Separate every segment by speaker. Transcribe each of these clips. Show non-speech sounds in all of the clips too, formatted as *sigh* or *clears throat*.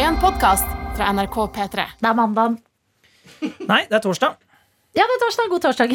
Speaker 1: en podkast fra NRK P3.
Speaker 2: Det er mandag.
Speaker 3: Nei, det er torsdag.
Speaker 2: Ja, det er torsdag. God torsdag.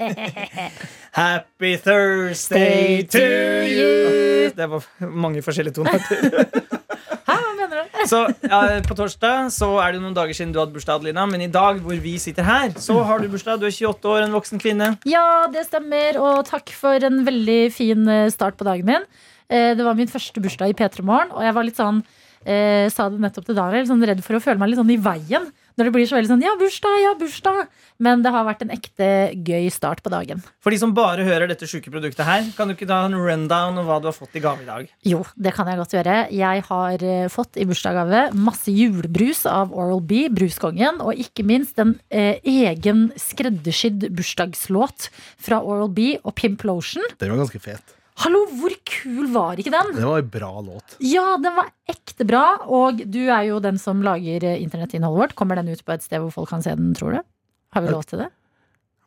Speaker 2: *laughs*
Speaker 3: Happy Thursday to you! Det var mange forskjellige toner.
Speaker 2: Hæ, hva mener du?
Speaker 3: *laughs* Så ja, På torsdag så er det noen dager siden du hadde bursdag, Adelina. Men i dag hvor vi sitter her, så har du bursdag. Du er 28 år, en voksen kvinne.
Speaker 2: Ja, det stemmer. Og takk for en veldig fin eh, start på dagen min. Eh, Det var min første bursdag i P3 Morgen, og jeg var litt sånn Eh, sa det nettopp til Daniel, sånn redd for å føle meg litt sånn i veien. Når det blir så veldig sånn 'ja, bursdag, ja, bursdag'. Men det har vært en ekte gøy start på dagen.
Speaker 3: For de som bare hører dette sjuke produktet her, kan du ikke ta en rundown om hva du har fått i gave i dag?
Speaker 2: Jo, det kan jeg godt gjøre. Jeg har eh, fått i bursdagsgave masse julebrus av Oral B, bruskongen, og ikke minst en eh, egen skreddersydd bursdagslåt fra Oral B og Pimp Lotion.
Speaker 4: Den var ganske fet.
Speaker 2: Hallo, hvor kul var ikke den?
Speaker 4: Det var en bra låt.
Speaker 2: Ja, den var ekte bra, og du er jo den som lager eh, internettinnholdet vårt. Kommer den ut på et sted hvor folk kan se den, tror du? Har vi lov til det?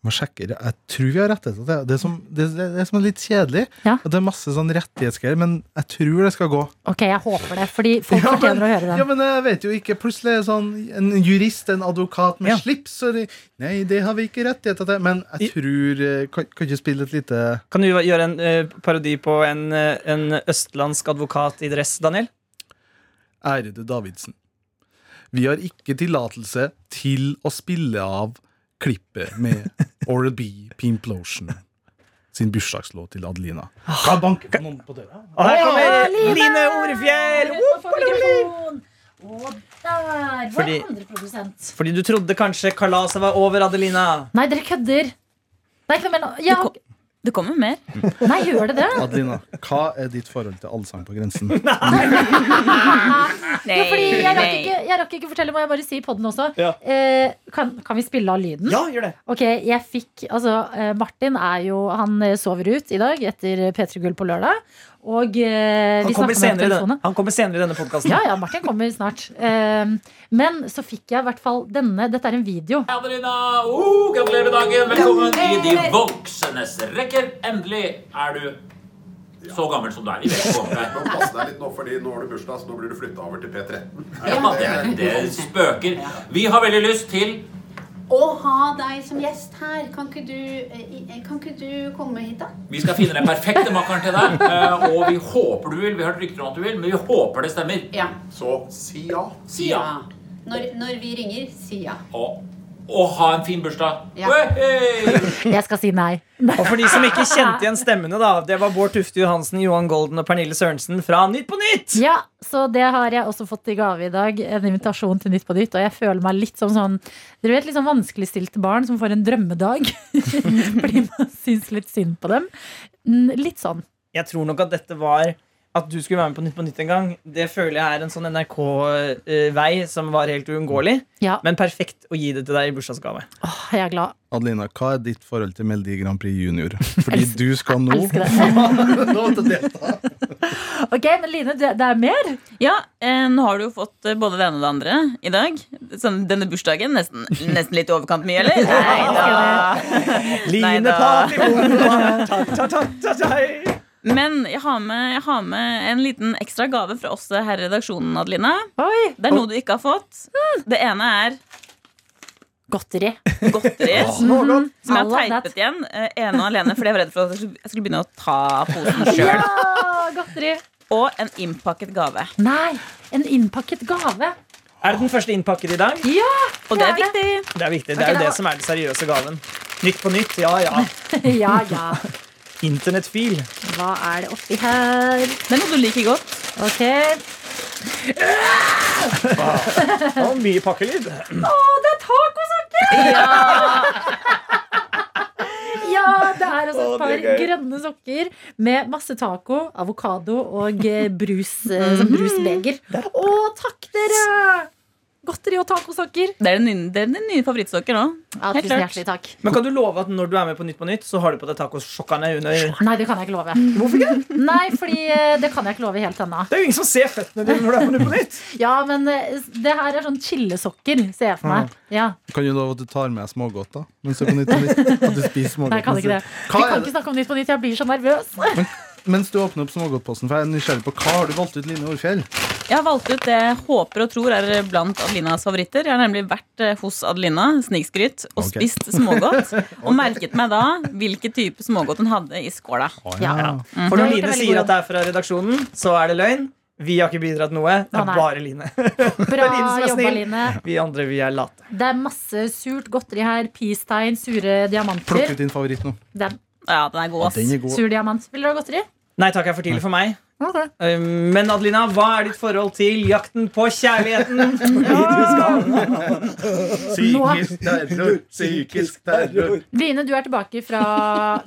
Speaker 4: Må sjekke, det. jeg tror vi har rettet det. Det som, det, det, det som er litt kjedelig,
Speaker 2: Ja.
Speaker 4: at det er masse sånn rettighetsgreier, men jeg tror det skal gå.
Speaker 2: Ok, jeg håper det, fordi folk
Speaker 4: Ja, men-
Speaker 2: fortjener å høre den.
Speaker 4: Ja, men jeg vet jo ikke. Plutselig er det sånn en jurist, en advokat med
Speaker 3: Ja.
Speaker 4: slips og de, Nei, det har vi ikke rettigheter til. Men jeg tror eh, Kan, kan ikke spille et lite
Speaker 3: Kan du gjøre en eh, parodi på en, eh, en østlandsk advokat i dress, Daniel?
Speaker 4: Ærede Davidsen. Vi har ikke tillatelse til å spille av klippet med Oral B. Pimplotion sin bursdagslåt til Adelina. Kan jeg banke på noen på døra?
Speaker 3: Og her kommer
Speaker 2: Line!
Speaker 3: Line Orefjell!
Speaker 2: Rett på mikrofon. Og der var
Speaker 3: Fordi-
Speaker 2: andre produsent.
Speaker 3: Fordi du trodde kanskje kalaset var over, Adelina.
Speaker 2: Nei, dere kødder. Nei, ikke noe mer nå. Ja,
Speaker 5: Du Det kommer mer.
Speaker 2: nei, gjør det det?
Speaker 4: Adelina, hva er ditt forhold til Allsang på grensen?
Speaker 5: Nei,
Speaker 2: Ja, fordi jeg rakk,
Speaker 5: nei.
Speaker 2: ikke, jeg rakk ikke fortelle, må jeg bare si i podden også.
Speaker 3: Ja.
Speaker 2: Eh, kan, kan vi spille av lyden?
Speaker 3: Ja, gjør det.
Speaker 2: Ok, jeg fikk, altså eh, Martin er jo, han eh, sover ut i dag etter eh, P3 Gull på lørdag. Og eh,
Speaker 3: Han
Speaker 2: vi snakket med ham
Speaker 3: kommer senere,
Speaker 2: på
Speaker 3: i den-
Speaker 2: telefonen.
Speaker 3: han kommer senere i denne podkasten.
Speaker 2: Ja, ja, Martin kommer snart. Eh, men så fikk jeg i hvert fall denne. Dette er en video.
Speaker 6: Adelina, oh, gratulerer med dagen. Velkommen i de voksnes rekker. Endelig er du så gammel som du er. I
Speaker 7: Nå
Speaker 6: vekk
Speaker 7: pass deg litt nå, fordi nå har du bursdag, så nå blir du flytta over til P13.
Speaker 6: det, det spøker. Vi har veldig lyst til
Speaker 8: Å ha deg som gjest her, kan ikke du, eh, kan ikke du komme hit, da?
Speaker 6: Vi skal finne den perfekte makkeren til deg. eh, Og vi håper du vil. Vi har hørt rykter om at du vil, men vi håper det stemmer.
Speaker 8: Ja.
Speaker 7: Så si ja.
Speaker 6: Si ja.
Speaker 8: Når, når vi ringer, si ja.
Speaker 6: Og, og ha en fin bursdag.
Speaker 8: Ja.
Speaker 6: Wehey!
Speaker 2: Jeg skal si nei.
Speaker 3: Og for de som
Speaker 2: *laughs*
Speaker 3: ikke kjente igjen stemmene, da det var Bård Tufte Johansen, Johan Golden og Pernille Sørensen fra Nytt på Nytt!
Speaker 2: Ja, så det har jeg også fått i gave i dag. En invitasjon til Nytt på Nytt. Og jeg føler meg litt som sånn Dere vet litt sånn vanskeligstilte barn som får en drømmedag. *laughs* Fordi man syns litt synd på dem. Mm, Litt sånn.
Speaker 3: Jeg tror nok at dette var at du skulle være med på Nytt på Nytt en gang. Det føler jeg er en sånn NRK-vei som var helt uunngåelig.
Speaker 2: Ja,
Speaker 3: Men perfekt å gi det til deg i bursdagsgave.
Speaker 2: åh, jeg er glad.
Speaker 4: Adelina, hva er ditt forhold til Melodi Grand Prix Junior? Fordi du skal nå *laughs*
Speaker 2: Elsker det.
Speaker 4: Nå til det.
Speaker 2: Ok, men Line, det, det er mer?
Speaker 5: Ja, eh, nå har du jo fått eh, både det ene og det andre i dag. Sånn, denne bursdagen. Nesten, nesten litt i overkant mye, eller? Nei
Speaker 3: Line
Speaker 5: da.
Speaker 3: *laughs* Partyboom! Ta, ta, ta, ta, ta.
Speaker 5: Men jeg har, med, jeg har med en liten ekstra gave fra oss her i redaksjonen, Adelina.
Speaker 2: Oi!
Speaker 5: Det er noe du ikke har fått. Det ene er
Speaker 2: Godteri.
Speaker 5: godteri.
Speaker 2: Mm,
Speaker 3: Smågodt.
Speaker 5: Som jeg
Speaker 2: I
Speaker 5: har
Speaker 2: love
Speaker 5: teipet igjen. eh, Ene og alene, fordi jeg var redd for at jeg skulle- jeg skulle begynne å ta posen
Speaker 2: Ja,
Speaker 5: sjøl.
Speaker 2: godteri.
Speaker 5: Og en innpakket gave.
Speaker 2: Nei, en innpakket gave.
Speaker 3: Er det den første innpakkede i dag?
Speaker 2: Ja!
Speaker 5: Og det er
Speaker 2: det er
Speaker 5: viktig.
Speaker 3: Det er viktig, det er
Speaker 2: Ok,
Speaker 3: jo
Speaker 2: da-
Speaker 3: det som er den seriøse gaven. Nytt på nytt, ja ja.
Speaker 2: Ja, ja.
Speaker 3: Internettfil.
Speaker 2: Hva er det oppi her?
Speaker 5: Det er noe du liker godt.
Speaker 2: Ok.
Speaker 3: Og mye pakkelyd.
Speaker 2: Å, det er tacosokker! Ja, det er altså et par grønne sokker med masse taco, avokado og eh, brus eh, som brusbeger. Å, takk, dere! Godteri og tacosokker.
Speaker 5: Det er den nye, det er den nye favorittsokker nå.
Speaker 2: Ja,
Speaker 5: Helt
Speaker 2: tusen
Speaker 5: klart.
Speaker 2: hjertelig takk.
Speaker 3: Men kan du love at når du er med på Nytt på Nytt, så har du på deg tacosjokkerne under?
Speaker 2: Nei, det kan jeg ikke love. Hvorfor ikke? Nei, fordi eh, det kan jeg ikke love helt ennå.
Speaker 3: Det er jo ingen som ser føttene dine når du er på Nytt på Nytt.
Speaker 2: Ja, men eh, det her er sånn chillesokker, ser jeg for meg. Ja,
Speaker 4: Kan du love at du tar med smågodt, da? Mens du er på nytt og nytt? At du spiser smågodt?
Speaker 2: Nei, jeg kan ikke det.
Speaker 4: mens
Speaker 2: Vi
Speaker 4: du- Hva
Speaker 2: kan
Speaker 4: er
Speaker 2: ikke
Speaker 4: det?
Speaker 2: snakke om Nytt på Nytt, jeg blir så nervøs.
Speaker 4: Mens du åpner opp smågodtposten, for jeg er nysgjerrig på hva har du valgt ut Line Orfjell?
Speaker 5: Jeg har valgt ut det jeg håper og tror er blant Adelinas favoritter. Jeg har nemlig vært eh, hos Adelina snikskryt og
Speaker 4: Ok.
Speaker 5: spist
Speaker 4: *laughs*
Speaker 5: smågodt. Og merket meg da hvilken type smågodt hun hadde i skåla.
Speaker 4: Ja.
Speaker 3: For
Speaker 2: Det
Speaker 3: når
Speaker 2: er
Speaker 3: Line
Speaker 2: veldig
Speaker 3: sier
Speaker 2: god.
Speaker 3: at det er fra redaksjonen, så er det løgn. Vi har ikke bidratt noe.
Speaker 2: Å,
Speaker 3: Det er
Speaker 2: nei.
Speaker 3: bare Line. *laughs*
Speaker 2: Bra
Speaker 3: Line som er
Speaker 2: jobba,
Speaker 3: snill.
Speaker 2: Line.
Speaker 3: Vi andre, vi er late.
Speaker 2: Det er masse surt godteri her. Peace-tegn, sure
Speaker 4: Plukk
Speaker 2: diamanter.
Speaker 4: ut din favoritt nå.
Speaker 2: Det er
Speaker 5: Ja, den er god,
Speaker 4: Ja,
Speaker 5: ass.
Speaker 4: den er god.
Speaker 2: sur diamant. Vil dere ha godteri?
Speaker 3: Nei takk, er for tidlig for meg. Eh, Men Adelina, hva er ditt forhold til jakten på kjærligheten?
Speaker 2: Psykisk
Speaker 4: terror, psykisk terror.
Speaker 2: Line, du er tilbake *laughs* fra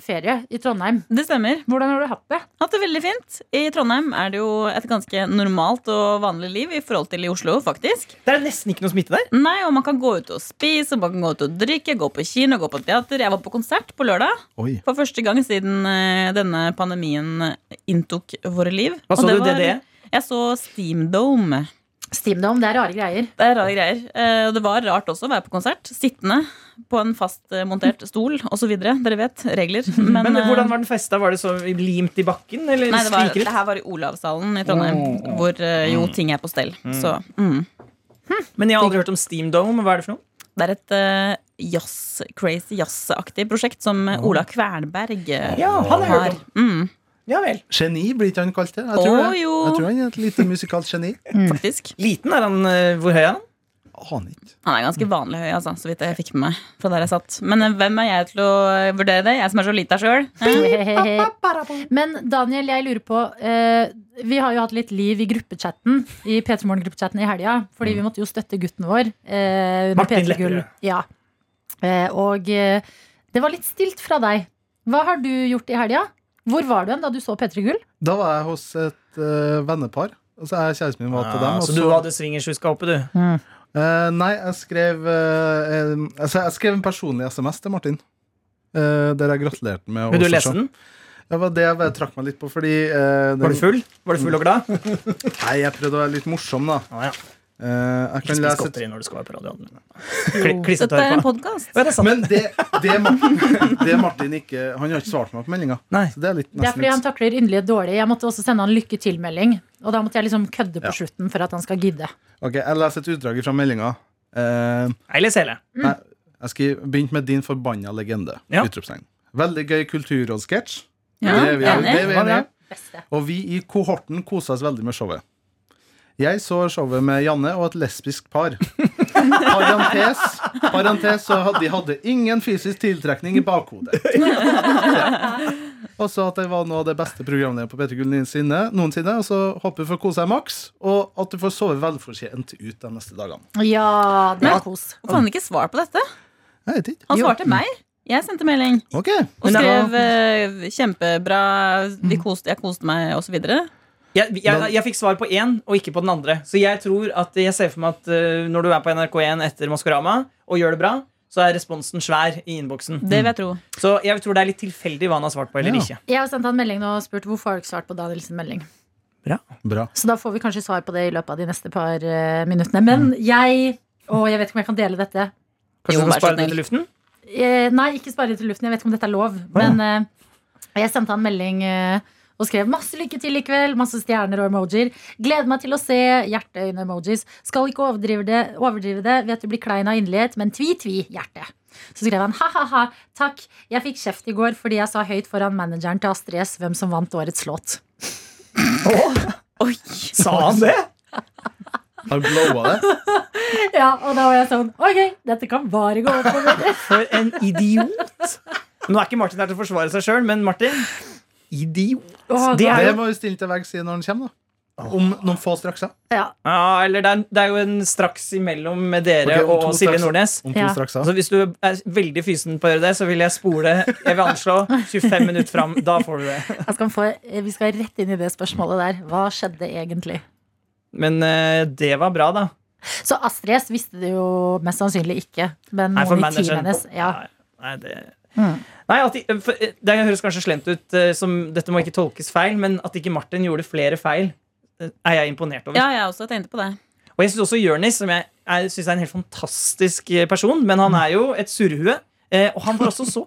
Speaker 2: ferie i Trondheim.
Speaker 5: Det stemmer.
Speaker 2: Hvordan har du hatt det?
Speaker 5: Hatt det veldig fint. I Trondheim er det jo et ganske normalt og vanlig liv i forhold til i Oslo, faktisk.
Speaker 3: Det er nesten ikke noe smitte der.
Speaker 5: Nei, og man kan gå ut og spise, og man kan gå ut og drikke, gå på kino, gå på teater. Jeg var på konsert på lørdag
Speaker 4: Oi.
Speaker 5: for første gang siden eh, denne pandemien inntok våre liv.
Speaker 3: Hva
Speaker 5: Og
Speaker 3: så du,
Speaker 5: var-
Speaker 3: DDE?
Speaker 5: Jeg så Steam Dome.
Speaker 2: Steam Dome, det er rare greier.
Speaker 5: Det er rare greier. Eh, Og det var rart også å være på konsert. Sittende på en fastmontert stol osv. Dere vet regler. Men,
Speaker 3: *laughs* Men eh,
Speaker 5: eh,
Speaker 3: hvordan var den festa? Var det så limt i bakken? Eller
Speaker 5: Nei, det, var,
Speaker 3: spikret?
Speaker 5: det her var i Olavshallen i Trondheim, hvor eh,
Speaker 3: Mm.
Speaker 5: jo ting er på stell. Så mm.
Speaker 3: Men jeg har aldri hørt om Steam Dome. Hva er det for noe?
Speaker 5: det er et eh, jazz, crazy jazzaktig prosjekt som eh, Ola Kvernberg eh,
Speaker 3: Ja, han har
Speaker 5: har.
Speaker 3: hørt om.
Speaker 5: Mm,
Speaker 3: Ja vel.
Speaker 4: Geni blir ikke han kalt det? Jeg tror,
Speaker 5: Å,
Speaker 4: det.
Speaker 5: jo.
Speaker 4: jeg tror han er et lite musikalt geni.
Speaker 5: Mm,
Speaker 3: Mm.
Speaker 5: faktisk.
Speaker 3: Liten er han. eh, Hvor høy er han?
Speaker 4: Aner ikke.
Speaker 5: Han er ganske vanlig høy, altså, så vidt jeg fikk med meg. fra der jeg satt Men eh, hvem er jeg til å eh, vurdere det? Jeg som er så lita sjøl.
Speaker 2: Men Daniel, jeg lurer på eh, Vi har jo hatt litt liv i gruppechatten I P3morgen-gruppechatten i helga. Fordi vi måtte jo støtte gutten vår. eh, under
Speaker 3: Martin
Speaker 2: P3 Gull.
Speaker 3: Lepperød.
Speaker 2: Ja. Eh, og eh, det var litt stilt fra deg. Hva har du gjort i helga? Hvor var du hen da du så P3 Gull?
Speaker 4: Da var jeg hos et eh, vennepar. Og så er kjæresten min var til dem. altså?
Speaker 3: Ah,
Speaker 4: og
Speaker 3: så du
Speaker 4: så-
Speaker 3: hadde swingershuska oppe, du.
Speaker 4: Eh, nei, jeg skrev, eh, en- altså, jeg skrev en personlig SMS til Martin. eh, der jeg gratulerte han med
Speaker 3: Vil du
Speaker 4: også
Speaker 3: lese
Speaker 4: sånn.
Speaker 3: den?
Speaker 4: Ja, Det var det jeg bare trakk meg litt på, fordi eh, den-
Speaker 3: Var du full? Var du full og glad?
Speaker 4: Nei, jeg prøvde å være litt morsom, da.
Speaker 3: Ah, ja.
Speaker 4: Eh, jeg
Speaker 3: Ikke
Speaker 4: kan
Speaker 3: spis
Speaker 4: lese
Speaker 3: godteri når du skal være på radioen. Kli- Klissete
Speaker 5: Dette
Speaker 3: hår
Speaker 5: er eh, en
Speaker 3: på.
Speaker 5: podkast.
Speaker 3: Ja, det er sant.
Speaker 4: Men det, det, Martin, *laughs* det Martin ikke Han har ikke svart meg på meldinga.
Speaker 3: Nei.
Speaker 4: Så det er litt
Speaker 2: Det er
Speaker 4: nesten
Speaker 2: fordi han
Speaker 4: litt
Speaker 2: takler yndelige dårlig. Jeg måtte også sende han lykke til-melding. Og da måtte jeg liksom kødde på
Speaker 4: Ja.
Speaker 2: slutten for at han skal gidde.
Speaker 4: Ok, Jeg leser et utdrag fra meldinga. Eh,
Speaker 3: Jeg leser hele.
Speaker 4: jeg skriver 'Begynt med din forbanna legende'.
Speaker 3: Ja.
Speaker 4: Utropstegn. Veldig gøy kulturrådsketsj.
Speaker 5: Ja,
Speaker 4: det er vi,
Speaker 5: enig.
Speaker 4: det er vi
Speaker 3: Ja, det er.
Speaker 4: enige i.
Speaker 2: Beste.
Speaker 4: Og vi i kohorten kosa oss veldig med showet. Jeg så showet med Janne og et
Speaker 3: *laughs*
Speaker 4: lesbisk par. Parentes, parentes så had- de hadde ingen fysisk tiltrekning i bakhodet. Og så at det var noe av det beste programmet på P3 Gull noensinne. noensinne, Og så håper vi får kose deg maks, og at du får sove velfortjent ut de neste dagene.
Speaker 2: Ja, det er kos.
Speaker 5: Hvorfor har han ikke svar på dette?
Speaker 4: Jeg vet ikke.
Speaker 5: Han svarte meg. Jeg sendte melding.
Speaker 4: Ok.
Speaker 3: Men
Speaker 5: Og
Speaker 3: det
Speaker 5: skrev eh, 'kjempebra', vi koste, 'jeg koste meg', osv.
Speaker 3: Jeg, jeg, jeg fikk svar på én, og ikke på den andre. Så jeg tror at jeg ser for meg at eh, når du er på NRK1 etter Maskorama og gjør det bra, så er responsen svær i innboksen.
Speaker 5: Det vil jeg tro.
Speaker 3: Så jeg tror det er litt tilfeldig hva han har svart på eller
Speaker 4: Ja.
Speaker 3: ikke.
Speaker 2: Jeg har sendt han melding nå og spurt hvorfor har du ikke svart på Daniels melding.
Speaker 4: Bra.
Speaker 2: Så da får vi kanskje svar på det i løpet av de neste par eh, minuttene. Men jeg Å, jeg vet ikke om jeg kan dele dette.
Speaker 3: Kanskje
Speaker 5: Jo,
Speaker 3: du
Speaker 5: vær så
Speaker 3: skal spare
Speaker 5: snill.
Speaker 3: den til luften?
Speaker 2: Eh, nei, ikke spare det til luften. Jeg vet ikke om dette er lov. Men eh, jeg sendte han melding eh, og skrev masse lykke til i kveld. Masse stjerner og emojier. Gleder meg til å se hjerteøyne-emojis. Skal ikke overdrive det. Overdrive det. Vet du blir klein av inderlighet, men tvi-tvi hjerte. Så skrev han ha-ha-ha, takk. Jeg fikk kjeft i går fordi jeg sa høyt foran manageren til Astrid S hvem som vant årets låt.
Speaker 5: Oi.
Speaker 3: Sa han det?
Speaker 4: Har du blowa det?
Speaker 2: Ja, og da var jeg sånn Ok, dette kan bare gå *laughs* oppover.
Speaker 3: For en idiot! Nå er ikke Martin her til å forsvare seg sjøl, men Martin Idiot.
Speaker 2: Åh,
Speaker 3: Det er
Speaker 4: Det
Speaker 3: jo,
Speaker 4: må vi stille til veggs i når han kommer, da. Om noen få strakser.
Speaker 2: Ja.
Speaker 3: ja, eller det, er, det er jo en straks imellom med dere
Speaker 4: Ok, om to
Speaker 3: og Silje
Speaker 4: straks.
Speaker 3: Nordnes.
Speaker 4: Om to
Speaker 2: Ja.
Speaker 4: strakser.
Speaker 3: Altså, hvis du er veldig fysen på å gjøre det, så vil jeg spole Jeg vil anslå 25 minutter fram. Da får du det.
Speaker 2: Jeg skal få, eh, vi skal rett inn i det spørsmålet der. Hva skjedde egentlig?
Speaker 3: Men eh, det var bra, da.
Speaker 2: Så Astrid S visste det jo mest sannsynlig ikke. Men
Speaker 3: Nei, for
Speaker 2: noen i teamet
Speaker 3: manageren.
Speaker 2: hennes ja. Mm.
Speaker 3: Nei, det Nei, at de, for, eh, Det høres kanskje slemt ut, eh, som dette må ikke tolkes feil, men at ikke Martin gjorde flere feil, eh, er jeg imponert over.
Speaker 5: Ja, jeg også tenkte på det.
Speaker 3: Og jeg syns også Jonis, som jeg, jeg synes er en helt fantastisk eh, person, men
Speaker 2: Mm.
Speaker 3: han er jo et surrehue. eh, Og han var også så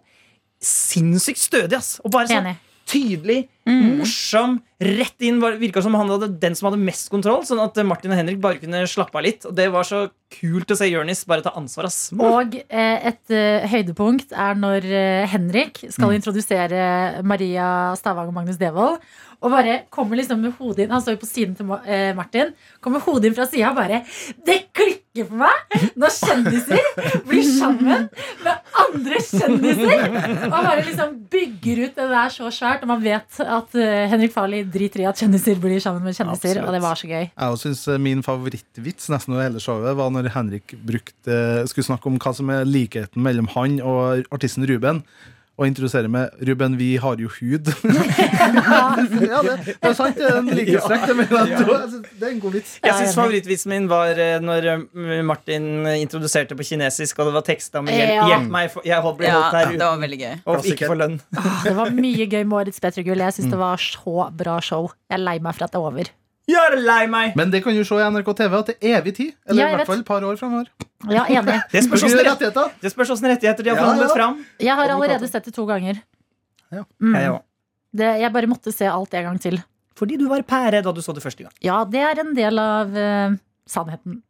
Speaker 3: sinnssykt stødig, ass. Og bare sånn
Speaker 2: Enig.
Speaker 3: tydelig, morsom, rett inn. Var- Virka som han hadde den som hadde mest kontroll, sånn at eh, Martin og Henrik bare kunne slappe av litt. Og det var så kult å se Jonis bare ta ansvar, ass.
Speaker 2: Og eh, et eh, høydepunkt er når eh, Henrik skal introdusere Maria Stavang og Magnus Devold. Og bare kommer liksom med hodet inn Han står jo på siden til Ma- eh, Martin. Kommer hodet inn fra sida og bare Det klikker for meg når kjendiser blir sammen med andre kjendiser! Og bare liksom bygger ut det der så svært. Og man vet at eh, Henrik Farley driter i at kjendiser blir sammen med kjendiser.
Speaker 4: Absolutt.
Speaker 2: Og det var så gøy.
Speaker 4: Jeg syns min favorittvits nesten over hele showet var når Henrik brukte, skulle snakke om hva som er likheten mellom han og artisten Ruben. Og introdusere med 'Ruben, vi har jo hud'. *laughs* ja, det, det er sant. Det er en likhetstrekk. Det, mener jeg. Det er- det er en god vits.
Speaker 3: Jeg syns favorittvitsen min var eh, når eh, Martin introduserte på kinesisk, og det var teksta med
Speaker 2: Ja.
Speaker 3: 'Hjelp, hjelp meg, for- jeg holdt- blir
Speaker 5: Ja,
Speaker 3: holdt her
Speaker 5: det
Speaker 3: uten
Speaker 5: var veldig gøy.
Speaker 3: og ikke for lønn'.
Speaker 2: Det var mye gøy med årets P3 Gull. Jeg syns det var så bra show. Jeg er lei meg for at det er over.
Speaker 3: Jeg er lei meg!
Speaker 4: Men det kan du se i NRK TV at det er evig tid. Eller
Speaker 2: Ja,
Speaker 4: i
Speaker 2: jeg
Speaker 4: hvert
Speaker 2: vet.
Speaker 4: fall et par år framover.
Speaker 2: *laughs* Ja, enig.
Speaker 3: Det spørs
Speaker 4: Hvilke
Speaker 3: åssen rett,
Speaker 4: rettigheter?
Speaker 3: det spørs hvordan rettigheter de har
Speaker 4: Ja,
Speaker 3: forhandlet
Speaker 4: ja.
Speaker 3: fram.
Speaker 2: Jeg har allerede sett det to ganger.
Speaker 4: Ja.
Speaker 2: Mm.
Speaker 3: Jeg også.
Speaker 2: Det, jeg bare måtte se alt en gang til.
Speaker 3: Fordi du var pære da du så det første gang.
Speaker 2: Ja, det er en del av eh, sannheten.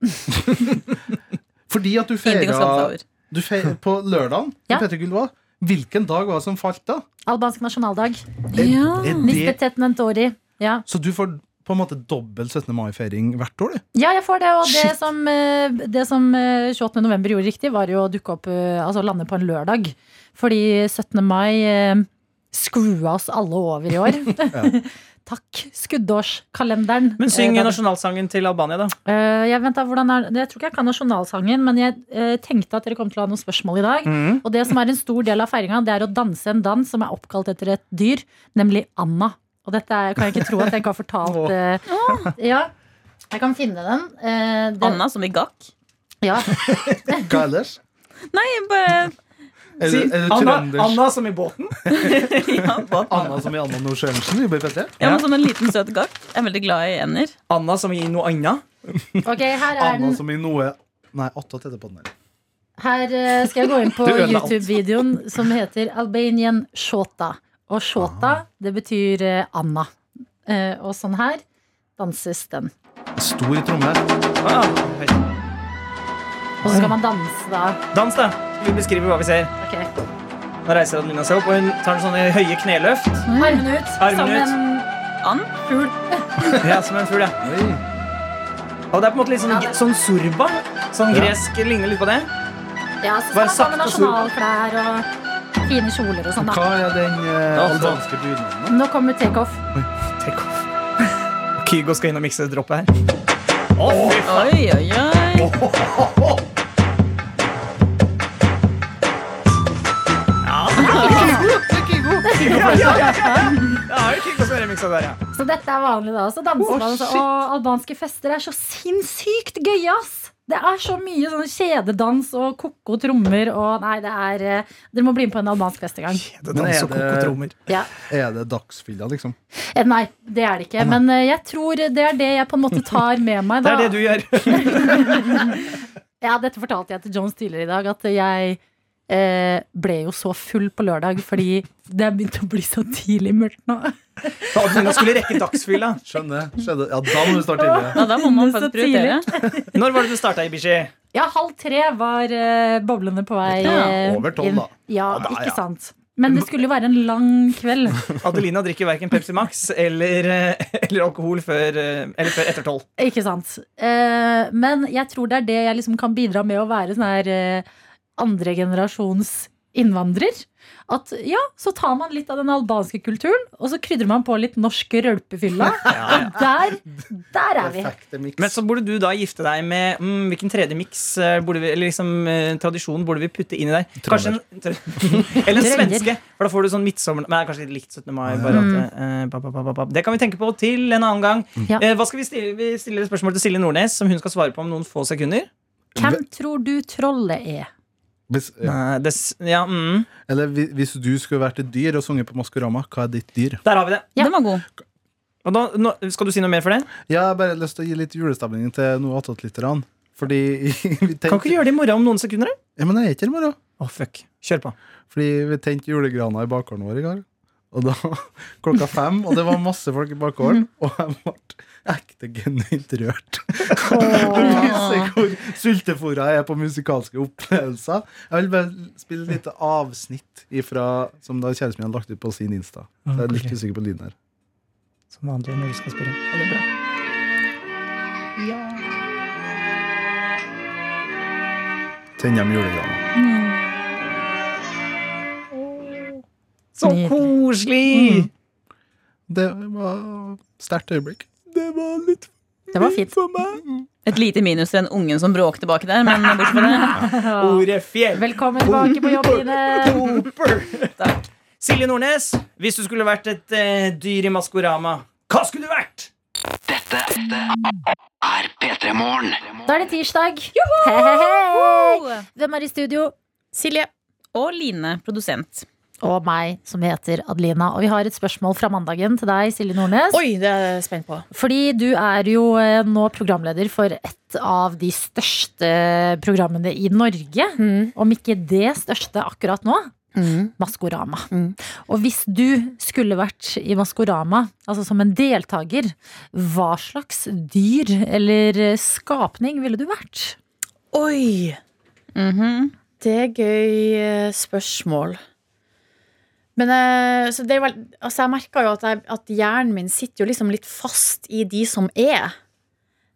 Speaker 4: Fordi at du
Speaker 5: Ingenting å skamme seg
Speaker 4: feira
Speaker 5: over.
Speaker 4: du fe- på lørdagen
Speaker 2: Ja.
Speaker 4: på Petter Gullvåg. Hvilken dag var det som falt da?
Speaker 2: Albansk nasjonaldag.
Speaker 4: Er
Speaker 5: Ja.
Speaker 4: det,
Speaker 2: Lisbeth Tetnentori. Ja.
Speaker 4: så du får på en måte dobbel 17. mai-feiring hvert år, du?
Speaker 2: ja, jeg får det. Og det
Speaker 4: Shit.
Speaker 2: som, eh, det som eh, 28. november gjorde riktig, var jo å dukke opp eh, Altså lande på en lørdag. Fordi 17. mai eh, skrua oss alle over
Speaker 3: *laughs*
Speaker 2: i år. *laughs* Takk, skuddårskalenderen.
Speaker 3: Men syng
Speaker 2: Eh, da-
Speaker 3: nasjonalsangen til Albania, da.
Speaker 2: Eh, jeg, vent da, hvordan er, det? jeg tror ikke jeg kan nasjonalsangen, men jeg eh, tenkte at dere kom til å ha noen spørsmål i dag.
Speaker 3: Mhm.
Speaker 2: Og det som er en stor del av feiringa, det er å danse en dans som er oppkalt etter et dyr, nemlig Anna. Og dette er, kan jeg ikke tro at jeg ikke har fortalt eh, Ja, jeg kan finne den. Eh, den
Speaker 5: Anna som i gakk.
Speaker 2: Ja.
Speaker 4: Hva ellers?
Speaker 5: Nei, bare
Speaker 4: Er
Speaker 3: Si,
Speaker 4: det, er det
Speaker 3: Anna,
Speaker 4: trønders-
Speaker 3: Anna som i båten.
Speaker 5: ja, på.
Speaker 4: Anna som i Anna Nordsjøensen?
Speaker 5: Ja, men sånn en liten søt gakk. Jeg er veldig glad i ender.
Speaker 3: Anna som i noe annet.
Speaker 2: Ok, her er
Speaker 4: Anna
Speaker 2: den.
Speaker 4: som i noe Nei, attåt heter på den der.
Speaker 2: Her eh, skal jeg gå
Speaker 3: *laughs*
Speaker 2: inn på
Speaker 3: Du ødela alt.
Speaker 2: YouTube-videoen som heter Albanian Shota. Og
Speaker 3: Ah.
Speaker 2: Shota, det betyr eh, Anna. Eh, og sånn her danses den.
Speaker 4: Stor tromme.
Speaker 3: Ah, høy.
Speaker 2: Og så skal man danse, da.
Speaker 3: Dans, da. Vi beskriver hva vi ser.
Speaker 2: Ok
Speaker 3: Nå reiser Adelina seg opp, og hun tar sånne høye kneløft.
Speaker 2: Armene ut.
Speaker 3: Armene ut.
Speaker 2: som en
Speaker 5: And.
Speaker 2: fugl.
Speaker 3: Ja, som en fugl, ja. Og det er på en måte litt sånn, sånn surba. Sånn
Speaker 4: Ja.
Speaker 3: gresk ligner litt på det.
Speaker 2: Ja, så
Speaker 3: Bare
Speaker 2: skal man ha med
Speaker 3: sakte og sur.
Speaker 2: nasjonalklær og fine kjoler og sånn.
Speaker 4: Hva
Speaker 2: da
Speaker 4: er den eh,
Speaker 3: Altså.
Speaker 4: albanske budnaden?
Speaker 2: Nå kommer takeoff.
Speaker 3: Take off. *laughs* Kygo skal inn og mikse droppet
Speaker 4: *laughs*
Speaker 3: her. Å, fy faen.
Speaker 5: Oi, oi, oi.
Speaker 3: Det er jo Kygo som er miksa der, ja.
Speaker 2: Så dette er vanlig, da. Så danser
Speaker 4: Å,
Speaker 2: man så,
Speaker 4: shit.
Speaker 2: Og albanske fester er så sinnssykt gøye, ass! Det er så mye sånn kjededans og koko trommer og Nei, det er eh, Dere må bli med på en albansk fest en gang.
Speaker 3: Det
Speaker 4: Men er
Speaker 3: danser
Speaker 4: det-
Speaker 3: kokotrommer.
Speaker 2: Ja.
Speaker 4: Er det dagsfylla, liksom?
Speaker 2: Eh, Nei, det er det ikke. Men eh, jeg tror det er det jeg på en måte tar med meg.
Speaker 3: *laughs*
Speaker 2: Da.
Speaker 3: Det er det du gjør.
Speaker 4: *laughs*
Speaker 2: Ja, dette fortalte jeg til Jones tidligere i dag, at jeg eh, ble jo så full på lørdag fordi det er begynt å bli så tidlig mørkt nå.
Speaker 3: Adelina skulle rekke dagsfylla.
Speaker 4: Skjønner. skjønner. Ja, da må du starte tidligere.
Speaker 5: Ja, da må man
Speaker 2: Så
Speaker 5: faktisk prioritere.
Speaker 3: Når var det du starta, Ibishi?
Speaker 2: Ja, halv tre var eh, boblene på vei eh,
Speaker 4: over tolv,
Speaker 2: inn.
Speaker 4: da.
Speaker 2: Ja,
Speaker 4: Ja, da,
Speaker 2: ikke
Speaker 4: ja.
Speaker 2: sant. Men det skulle jo være en lang kveld.
Speaker 4: *laughs*
Speaker 3: Adelina drikker verken Pepsi Max eller, eh, *laughs* eller alkohol før, eh, eller før etter tolv.
Speaker 2: Ikke sant. Eh, men jeg tror det er det jeg liksom kan bidra med å være sånn her eh, andregenerasjons innvandrer. At ja, så tar man litt av den albanske kulturen, og så krydrer man på litt norsk
Speaker 4: *laughs*
Speaker 2: rølpefylla. Og der, der er vi.
Speaker 4: Perfekte mix.
Speaker 3: Men så burde du da gifte deg med mm, Hvilken tredje miks eh, borde vi- eller liksom, eh, tradisjon burde vi putte inn i deg? Kanskje en, *laughs* eller en
Speaker 2: Trønder.
Speaker 3: svenske, for da får du sånn midtsommer... Men det er kanskje litt likt 17. mai. Bare
Speaker 2: Mm.
Speaker 3: at, eh, ba, ba, ba, ba, ba. Det kan vi tenke på til en annen gang.
Speaker 2: Ja.
Speaker 3: Eh, hva skal Vi stille Vi stiller et spørsmål til Silje Nordnes, som hun skal svare på om noen få sekunder.
Speaker 2: Hvem tror du trollet er?
Speaker 4: Hvis, ja.
Speaker 3: Eh, det, s- ja, mm.
Speaker 4: Eller hvi- hvis du skulle vært et dyr og sunget på Maskorama, hva er ditt dyr?
Speaker 3: Der har vi det.
Speaker 2: Ja.
Speaker 5: Den var god.
Speaker 3: Og da, nå, skal du si noe mer for det?
Speaker 4: Jeg har bare lyst til å gi litt julestemning til noe attåtlytterne. Fordi *laughs* vi
Speaker 3: Kan ikke
Speaker 4: tenkte
Speaker 3: du gjøre det i morgen om noen sekunder? da?
Speaker 4: Ja, men jeg er ikke her i morgen.
Speaker 3: Å, fuck. Kjør på.
Speaker 4: Fordi vi tente julegrana i bakgården vår i går.
Speaker 9: Og da, *laughs* klokka fem, og det var masse folk i
Speaker 3: Mhm.
Speaker 9: bakgården, og jeg ble ekte genuint rørt. Det viser hvor sultefòra jeg er på musikalske opplevelser. Jeg vil bare spille et lite avsnitt ifra, som da kjæresten min hadde lagt ut på sin Insta. Så jeg er litt
Speaker 10: Ok.
Speaker 9: usikker på lyden her.
Speaker 10: Som vanlig når du skal spille. Ja, det er bra.
Speaker 9: Tenner med julegrana.
Speaker 3: Så
Speaker 2: Nydelig.
Speaker 3: koselig!
Speaker 9: Det var sterkt øyeblikk.
Speaker 3: Det var litt
Speaker 2: Det var fint.
Speaker 3: for meg.
Speaker 5: Et lite minus til den ungen som bråkte baki der, men bortsett fra det.
Speaker 2: Mm.
Speaker 3: Ordet fjell.
Speaker 2: Velkommen tilbake på jobb, Ine.
Speaker 4: *laughs*
Speaker 5: Takk.
Speaker 3: Silje Nordnes, hvis du skulle vært et eh, dyr i Maskorama, hva skulle du vært?
Speaker 2: Da er det tirsdag. Hei, hei, hei.
Speaker 8: *laughs*
Speaker 2: Hvem er i studio?
Speaker 5: Silje. Og Line, produsent.
Speaker 2: Og meg, som heter Adelina. Og vi har et spørsmål fra mandagen til deg, Silje Nordnes.
Speaker 8: Oi, det er jeg spent på.
Speaker 2: Fordi du er jo eh, nå programleder for et av de største programmene i Norge. Om ikke det største akkurat nå. Maskorama.
Speaker 8: Mm.
Speaker 2: Og hvis du skulle vært i Maskorama, altså som en deltaker, hva slags dyr eller skapning ville du vært?
Speaker 8: Oi!
Speaker 5: Mhm.
Speaker 8: Det er gøy eh, spørsmål. Men eh, så det er vel, altså jeg merker jo at, jeg, at hjernen min sitter jo liksom litt fast i de som er.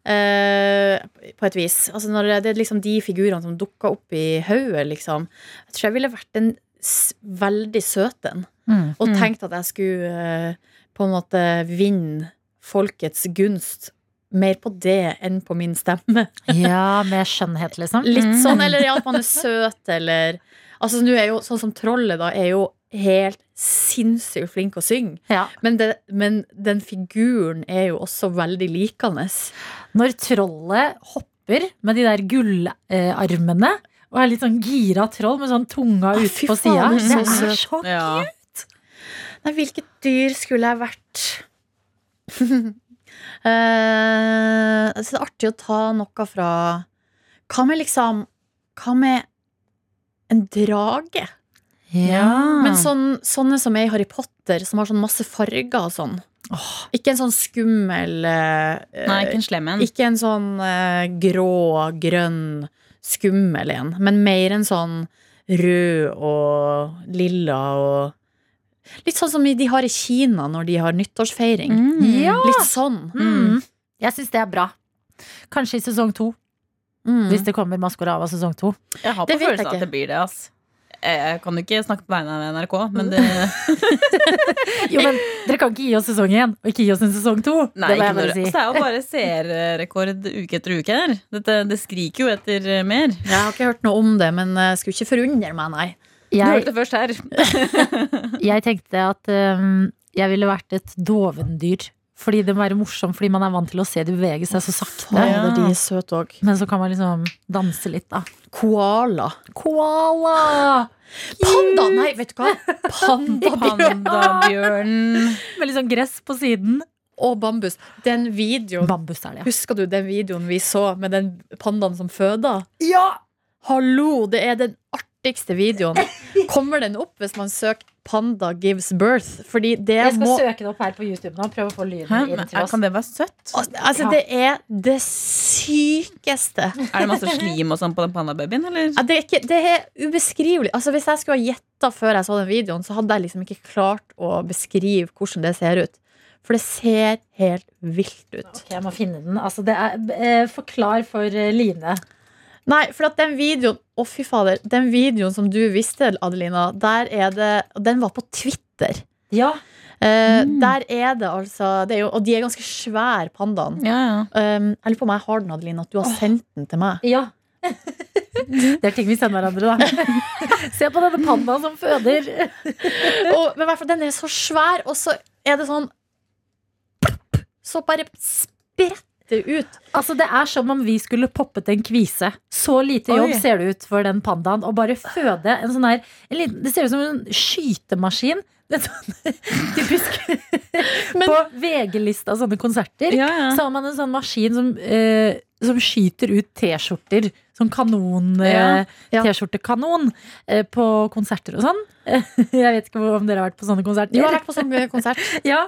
Speaker 8: eh, på et vis. Altså når det, det er liksom de figurene som dukker opp i hodet, liksom. Jeg tror jeg ville vært en s veldig søt en.
Speaker 2: Mm.
Speaker 8: Og tenkt at jeg skulle eh, på en måte vinne folkets gunst mer på det enn på min stemme.
Speaker 2: *laughs* Ja, med skjønnhet, liksom.
Speaker 8: Litt sånn, eller ja, at man er søt, eller Altså, nå er jo sånn som trollet, da, er jo helt sinnssykt flink å synge.
Speaker 2: Ja.
Speaker 8: Men, det, men den figuren er jo også veldig likende.
Speaker 2: Når trollet hopper med de der gullarmene og er litt sånn gira troll med sånn tunga
Speaker 8: Å,
Speaker 2: ut
Speaker 8: fy
Speaker 2: på sida.
Speaker 8: faen,
Speaker 2: Det
Speaker 8: så
Speaker 2: er
Speaker 8: søt.
Speaker 2: så
Speaker 5: Ja.
Speaker 8: Nei, hvilket dyr skulle jeg vært? *laughs* Eh, altså, det er artig å ta noe fra Hva med liksom Hva med en drage?
Speaker 2: Ja.
Speaker 8: Men sånn, sånne som er i Harry Potter, som har sånn masse farger og sånn. Ikke en sånn skummel eh,
Speaker 5: Nei, ikke en slem en.
Speaker 8: ikke en sånn eh, grå, grønn, skummel en, men mer en sånn rød og lilla og Litt sånn som de har i Kina når de har nyttårsfeiring.
Speaker 5: Mm.
Speaker 2: Ja.
Speaker 8: Litt sånn.
Speaker 2: Mm. Jeg syns det er bra. Kanskje i sesong to,
Speaker 8: Mm.
Speaker 2: hvis det kommer Maskorama sesong to.
Speaker 5: Jeg har på
Speaker 8: Det vet jeg
Speaker 5: følelsen at
Speaker 8: ikke.
Speaker 5: det blir det, ass. Jeg jeg kan jo ikke snakke på vegne av
Speaker 8: Mm.
Speaker 5: NRK,
Speaker 8: *laughs*
Speaker 5: men det
Speaker 2: Jo, men dere kan ikke gi oss sesong én, og ikke gi oss en sesong to.
Speaker 5: Nei,
Speaker 2: det må jeg bare
Speaker 5: ikke noe.
Speaker 2: si.
Speaker 5: Altså, det er jo bare seerrekord uke etter uke her. Dette, det skriker jo etter eh, mer.
Speaker 8: Jeg har ikke hørt noe om det, men jeg skulle ikke forundre meg, nei.
Speaker 5: Du
Speaker 2: Jeg,
Speaker 5: hørte det først her.
Speaker 2: jeg tenkte at øhm, jeg ville vært et dovendyr. Fordi det må være morsom, fordi man er vant til å se de bevege seg så sakte.
Speaker 8: Fader,
Speaker 5: *laughs*
Speaker 8: de er søte òg.
Speaker 2: Men så kan man liksom danse litt, da.
Speaker 8: Koala.
Speaker 2: Koala!
Speaker 8: Panda! Nei, vet du hva? *laughs* Pandabjørn.
Speaker 5: Pandabjørnen.
Speaker 2: Med litt sånn gress på siden.
Speaker 8: Og bambus. Den videoen
Speaker 2: Bambus er det, ja.
Speaker 8: Husker du den videoen vi så med den pandaen som føda? Ja! Hallo, det er den artigste videoen. Kommer den opp hvis man søker 'Panda gives birth'? Fordi det må
Speaker 2: søke det opp her på YouTube nå. Prøve å få lyden
Speaker 5: Hæ? Men, er- kan det være søtt?
Speaker 8: Altså, det er det sykeste.
Speaker 5: Er det masse slim og sånn på den pandababyen, eller?
Speaker 8: Ja, Det er, ikke, det er ubeskrivelig. Altså, hvis jeg skulle ha gjetta før jeg så den videoen, så hadde jeg liksom ikke klart å beskrive hvordan det ser ut. For det ser helt vilt ut.
Speaker 2: Ok, jeg må finne den. Altså, det er, eh, forklar for eh, Line.
Speaker 8: Nei, for at den videoen Å, fy fader. Den videoen som du viste, Adelina, der er det og Den var på Twitter.
Speaker 2: Ja.
Speaker 8: Eh, Der er det altså det er jo, Og de er ganske svære, pandaene.
Speaker 5: Ja, ja.
Speaker 8: Um, jeg lurer på om jeg har den, Adelina, at du har sendt den til meg.
Speaker 2: ja. *laughs* det er ting vi sender hverandre, da. *laughs* Se på denne pandaen som føder.
Speaker 8: Og, men i hvert fall, den er så svær, og så er det sånn Så bare spretter det ut.
Speaker 2: Altså, Det er som om vi skulle poppet en kvise. Så lite jobb
Speaker 5: Oi.
Speaker 2: ser det ut for den pandaen. Å bare føde en sånn her en liten, Det ser ut som en skytemaskin. Det er sånn, *laughs* typisk
Speaker 8: *laughs* Men-
Speaker 2: På VG-lista av sånne konserter
Speaker 5: Ja, ja.
Speaker 2: så har man en sånn maskin som eh, som skyter ut T-skjorter. Sånn kanon
Speaker 8: Ja,
Speaker 2: eh, T-skjortekanon eh, på konserter og sånn. *laughs* Jeg vet ikke hvor- om dere har vært på sånne konserter.
Speaker 8: Du har vært på sånn eh, konsert.
Speaker 2: Ja,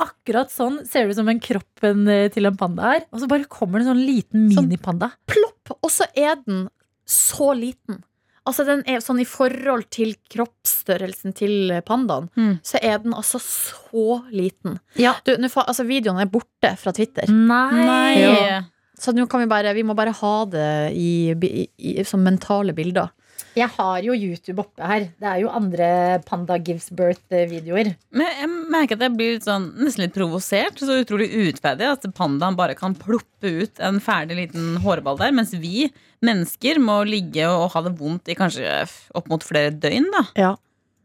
Speaker 2: akkurat sånn ser det ut som en kroppen eh, til en panda er. Og så bare kommer det en sånn liten
Speaker 8: Sånn-
Speaker 2: minipanda.
Speaker 8: Plopp! Og så er den så liten. Altså den er sånn I forhold til kroppsstørrelsen til pandaen,
Speaker 2: Mm.
Speaker 8: så er den altså så liten.
Speaker 2: Ja.
Speaker 8: Du, nå fa- altså Videoen er borte fra Twitter,
Speaker 2: Nei!
Speaker 8: Ja. så nå kan vi bare Vi må bare ha det i, i, i, som mentale bilder.
Speaker 2: Jeg har jo YouTube oppe her. Det er jo andre Panda gives eh, birth-videoer.
Speaker 5: Men jeg merker at jeg blir litt sånn, nesten litt provosert. Så utrolig urettferdig at pandaen bare kan ploppe ut en ferdig liten hårball der, mens vi mennesker må ligge og ha det vondt i kanskje f- opp mot flere døgn, da.